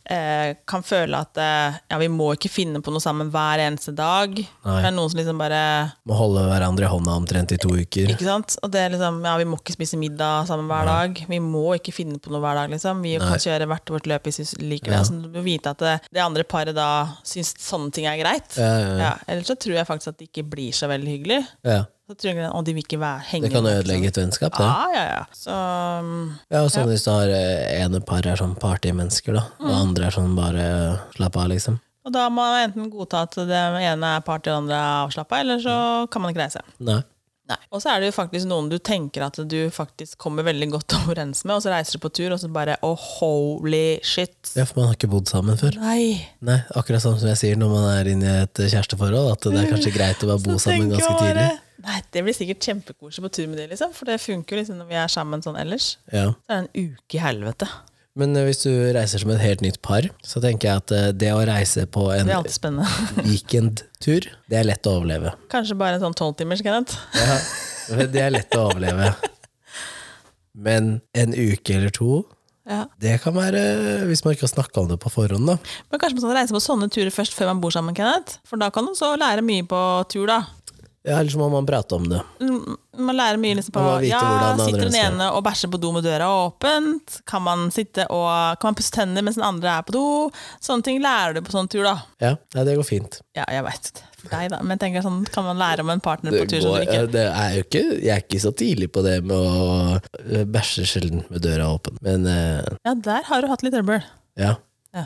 B: eh, kan føle at eh, ja, vi må ikke finne på noe sammen hver eneste dag. Det er noen som liksom bare
A: Må holde hverandre i hånda omtrent i to uker.
B: ikke sant? Og det er liksom, ja, Vi må ikke spise middag sammen hver dag. Vi må ikke finne på noe hver dag. liksom. Vi kan kjøre hvert vårt løp i sys- likevel. Så Altså, du må vite at det, det andre paret da syns sånne ting er greit.
A: Ja, ja, ja.
B: Ja, Ellers så tror jeg faktisk at det ikke blir så veldig hyggelig.
A: ja.
B: Så tror jeg, Og de vil ikke være, henge
A: Det kan
B: med,
A: ødelegge et vennskap, det.
B: Ja, ja, ja. Så um,
A: Ja, og sånn hvis du har eh, ene par er sånn partymennesker, da, og
B: Mm.
A: andre er sånn bare slapp av, liksom.
B: Og da må man enten godta at det ene er party og det andre er avslappa, eller så kan man ikke reise.
A: Mm. Nei.
B: Nei. Og så er det jo faktisk noen du tenker at du faktisk kommer veldig godt [laughs] overens med, og så reiser du på tur, og så bare oh, holy shit.
A: Ja, for man har ikke bodd sammen før.
B: Nei.
A: Nei, akkurat sånn som jeg sier når man er inne i et eh, kjæresteforhold, at det er kanskje greit å bare
B: [laughs]
A: bo sammen
B: tenker jeg
A: ganske tidlig.
B: bare, Nei, det blir sikkert kjempekoselig på tur med de, liksom. For det funker jo liksom når vi er sammen sånn ellers.
A: Ja.
B: Så er det en uke i helvete.
A: Men eh, hvis du reiser som et helt nytt par, så tenker jeg at eh, det å reise på
B: Det
A: en
B: er alltid spennende. [laughs]
A: [laughs] weekendtur, det er lett å overleve.
B: Kanskje bare en sånn tolvtimers, Kenneth.
A: Ja, [laughs] det er lett å overleve. Men en uke eller to,
B: Ja.
A: det kan være eh, Hvis man ikke har snakka om det på forhånd, da.
B: Men kanskje man skal reise på sånne turer først før man bor sammen, Kenneth? For da kan man så lære mye på tur, da.
A: Ja, Ellers må man prate om det.
B: Mm, Man lærer mye liksom på
A: Man må vite
B: Ja,
A: hvordan den
B: sitter
A: andre
B: den
A: skal.
B: ene og bæsjer på do med døra åpent? Kan man sitte og Kan man pusse tenner mens den andre er på do? Sånne ting lærer du på sånn tur, da.
A: Ja, nei, det går fint.
B: Ja, jeg veit det. deg, da. Men jeg tenker sånn, kan man lære om en partner på
A: Det
B: tur som
A: går-
B: drikker?
A: eh, det er jo ikke, jeg er ikke så tidlig på det med å eh, bæsje sjelden med døra åpen. Men eh,
B: Ja, der har du hatt litt trøbbel.
A: ja.
B: Ja.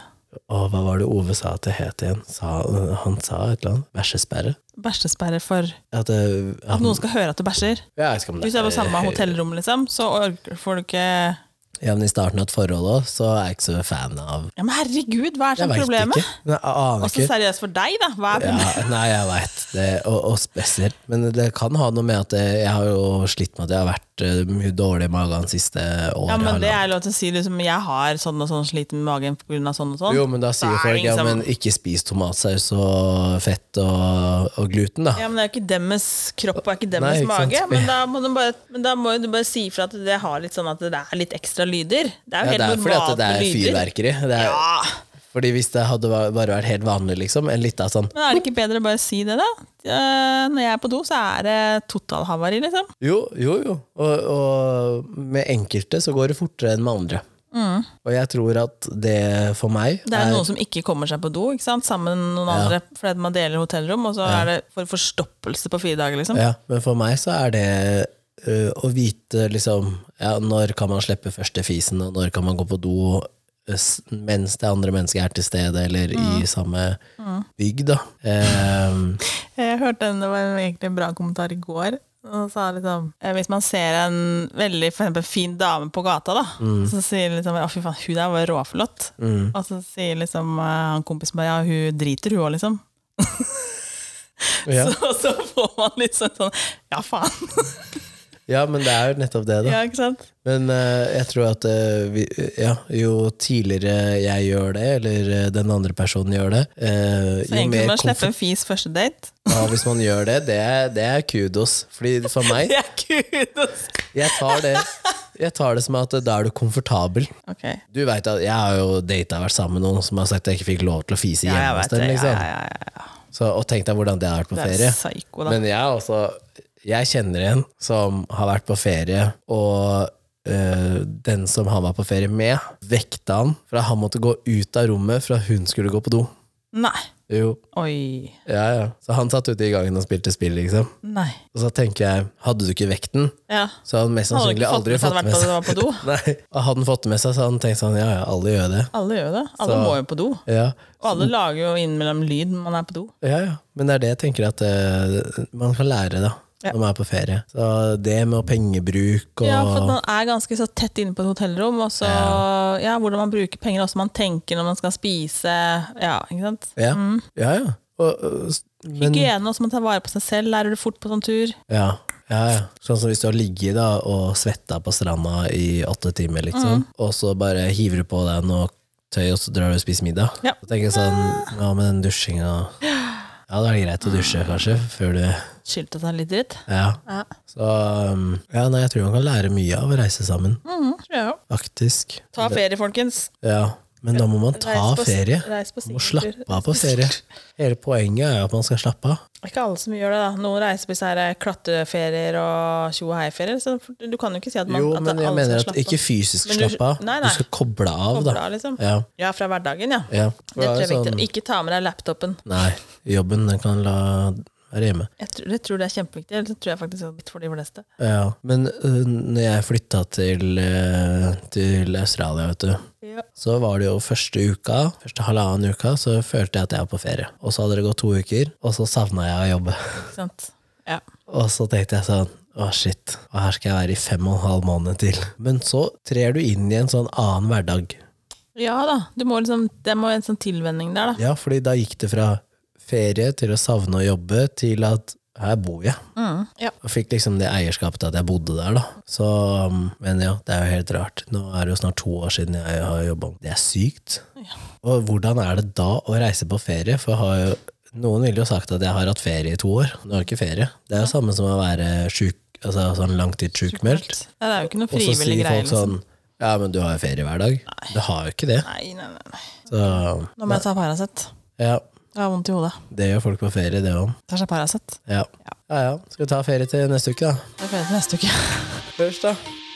A: Og hva var det Ove sa at det het igjen? Sa, han sa et eller annet. Bæsjesperre?
B: Bæsjesperre for
A: At, det-
B: at noen skal høre at du bæsjer.
A: Ja, jeg vet ikke om det
B: Hvis du er på samme hotellrom, liksom, så orker- får du ikke Ja,
A: Ja, men I starten av et forhold òg, så er jeg ikke så fan av
B: men herregud, hva er
A: Jeg
B: sånn
A: vet
B: problemet?
A: ikke. Nei, Jeg aner
B: Også
A: ikke.
B: seriøst for deg, da. Hva er
A: Ja, nei, jeg veit det, og, og spesielt. Men det kan ha noe med at jeg, jeg har jo slitt med at jeg har vært eh, mye dårlig i magen de siste året.
B: Ja, men det er lov til å si liksom, jeg har sånn og sånn sliten med magen pga. sånn og sånn.
A: Jo, men da sier
B: Da er
A: folk
B: det
A: ja,
B: liksom-
A: men ikke spis tomatsaus og fett og, og gluten, da.
B: Ja, men Det er jo ikke deres kropp og ikke
A: Nei,
B: deres
A: ikke sant.
B: mage. Men da, må du bare, men da må jo du bare si ifra at det har litt sånn at det er litt ekstra lyder. Det er
A: Ja,
B: jo
A: det er
B: helt
A: fordi at det
B: normalt med
A: er
B: lyder.
A: fyrverkeri. Det er,
B: Ja,
A: Fordi hvis det hadde va- bare vært helt vanlig, liksom, en lita sånn
B: Men er det ikke bedre å bare si det, da? Eh, når jeg er på do, så er det totalhavari, liksom.
A: Jo, jo, jo. Og, og med enkelte så går det fortere enn med andre. Og jeg tror at det for meg
B: Mm. Det er noen som ikke kommer seg på do ikke sant? sammen med noen andre fordi man deler hotellrom, og så er det for forstoppelse på fire dager, liksom.
A: Ja, men for meg så er det ø, å vite liksom ja, Når kan man slippe første fisen, og når kan man gå på do ø, s- mens det andre mennesket er til stede, eller
B: Mm.
A: i samme bygg, da.
B: [laughs]
A: Ehm,
B: Jeg hørte en, det var en- egentlig en bra kommentar i går. Og sa liksom, eh, hvis man ser en veldig for eksempel, fin dame på gata, da,
A: Mm.
B: så sier liksom, å fy faen, hun der var råflott. Og så sier liksom eh, han kompisen bare, ja, hun driter hun òg, liksom.
A: ja.
B: [laughs] Så, så får man liksom sånn, ja faen.
A: [laughs] ja, men det er jo nettopp det, da.
B: [laughs] Ja, ikke sant?
A: Men eh, jeg tror at eh, vi, ja, jo tidligere jeg gjør det, eller eh, den andre personen gjør det, eh,
B: Så
A: jo
B: egentlig
A: mer
B: må man slippe en fis første date.
A: komfortabelt hvis man gjør det, det er, det er kudos. Fordi for
B: [laughs]
A: meg,
B: Det er kudos!
A: jeg tar det, jeg tar det som at eh, da er du komfortabel.
B: Ok.
A: Du vet at Jeg har jo data vært sammen med noen som har sagt at jeg ikke fikk lov til å fise
B: Ja, jeg
A: hjemme hos
B: vet
A: dem.
B: det. Ja,
A: Liksom.
B: ja, ja, ja.
A: Så, og tenk deg hvordan det har vært på
B: Det
A: ferie.
B: er psyko, da.
A: Men jeg er også Jeg kjenner en som har vært på ferie, og øh, den som han var på ferie med, vekta han for at han måtte gå ut av rommet for at hun skulle gå på do.
B: Nei.
A: Jo,
B: Oi.
A: ja, ja. Så han satt ute i gangen og spilte spill, liksom.
B: Nei.
A: Og så tenker jeg, hadde du ikke vekten,
B: Ja.
A: så hadde han mest
B: Hadde
A: sannsynlig
B: du ikke fått
A: aldri
B: med seg at
A: fått
B: han
A: med
B: hadde
A: seg
B: vært på do?
A: [laughs] Nei, og hadde han fått det med seg, så hadde han tenkt sånn, ja ja, alle gjør det.
B: Alle gjør jo det. Alle
A: Så- Mm.
B: må jo på do.
A: Ja,
B: Og alle lager jo innimellom lyd når man er på do.
A: ja, ja. Men det er det jeg tenker at øh, man kan lære, da.
B: Ja.
A: Når man er på ferie. Så det med pengebruk og
B: Ja, for at man er ganske så tett inne på et hotellrom, og så ja, hvordan man bruker penger, hvordan man tenker når man skal spise, ja, ikke sant.
A: Ja, ja. ja. Og, og, s- men,
B: Hygiene, hvordan man tar vare på seg selv, lærer du fort på sånn tur.
A: ja, ja, ja. Sånn som hvis du har ligget da, og svetta på stranda i åtte timer,
B: Mm.
A: liksom, og så bare hiver du på deg noe tøy, og så drar du og spiser middag.
B: Ja.
A: Så tenker jeg sånn, ja, med den dusjinga Ja, da er det greit å dusje, kanskje, før du
B: Skyldte seg litt dritt.
A: Ja.
B: Ja.
A: Så um, Ja, nei, jeg tror man kan lære mye av å reise sammen,
B: Mm, Tror jeg jo.
A: faktisk.
B: Ta ferie, folkens.
A: Ja. Men da må man ta
B: Reis på-
A: ferie.
B: Reis på
A: Man må
B: singletur.
A: slappe av på ferie. Hele poenget er jo at man skal slappe av.
B: Det er [laughs] Ikke alle som gjør det, da. Noen reiser på sånne her klatreferier og tjo og hei-ferier, så du kan jo ikke si at, man,
A: Jo,
B: at
A: men jeg
B: alle skal
A: mener
B: slappe
A: at ikke fysisk
B: Men du-
A: slappe av.
B: nei,
A: Du
B: nei.
A: skal koble av,
B: Koble
A: da.
B: av, liksom.
A: Ja,
B: Ja, fra hverdagen, ja.
A: ja.
B: Det tror jeg er
A: sånn-
B: viktig. Ikke ta med deg laptopen.
A: Nei, jobben den kan la være hjemme.
B: Jeg tror, jeg tror det er kjempeviktig. eller Det tror jeg faktisk er litt for de fleste.
A: Ja. Men øh, når jeg flytta til, øh, til Australia, vet du, så var det jo første uka, første halvannen uka, så følte jeg at jeg var på ferie. Og så hadde det gått to uker, og så savna jeg å jobbe.
B: Ikke sant? Ja.
A: Og så tenkte jeg sånn å, shit. Og her skal jeg være i fem og en halv måned til. Men så trer du inn i en sånn annen hverdag.
B: ja da. Du må liksom, det må en sånn tilvenning der, da.
A: Ja, fordi da gikk det fra ferie til å savne å jobbe til at her bor jeg.
B: Mm. Ja.
A: Og fikk liksom det eierskapet til at jeg bodde der, da. Så, um, men ja, det er jo helt rart. Nå er det jo snart to år siden jeg har jobba. Det er sykt. Og hvordan er det da å reise på ferie? For jeg har jo, noen ville jo sagt at jeg har hatt ferie i to år. Nå har jeg ikke ferie. Det er jo samme som å være sjuk, altså sånn langtidssjukmeldt.
B: Ja, det er jo ikke noe
A: Og så
B: frivillig
A: sier
B: greie.
A: folk
B: Liksom.
A: sånn Ja, men du har jo ferie hver dag. Du har jo ikke det.
B: Nei, nei, nei, nei.
A: Så
B: Nå må jeg ta Paracet.
A: ja,
B: Jeg har vondt i hodet.
A: det gjør folk på ferie, det òg.
B: Tar seg Paracet.
A: Ja. ja ja. Skal vi ta ferie til neste uke, da?
B: Det er ferie til neste uke.
A: Først, da.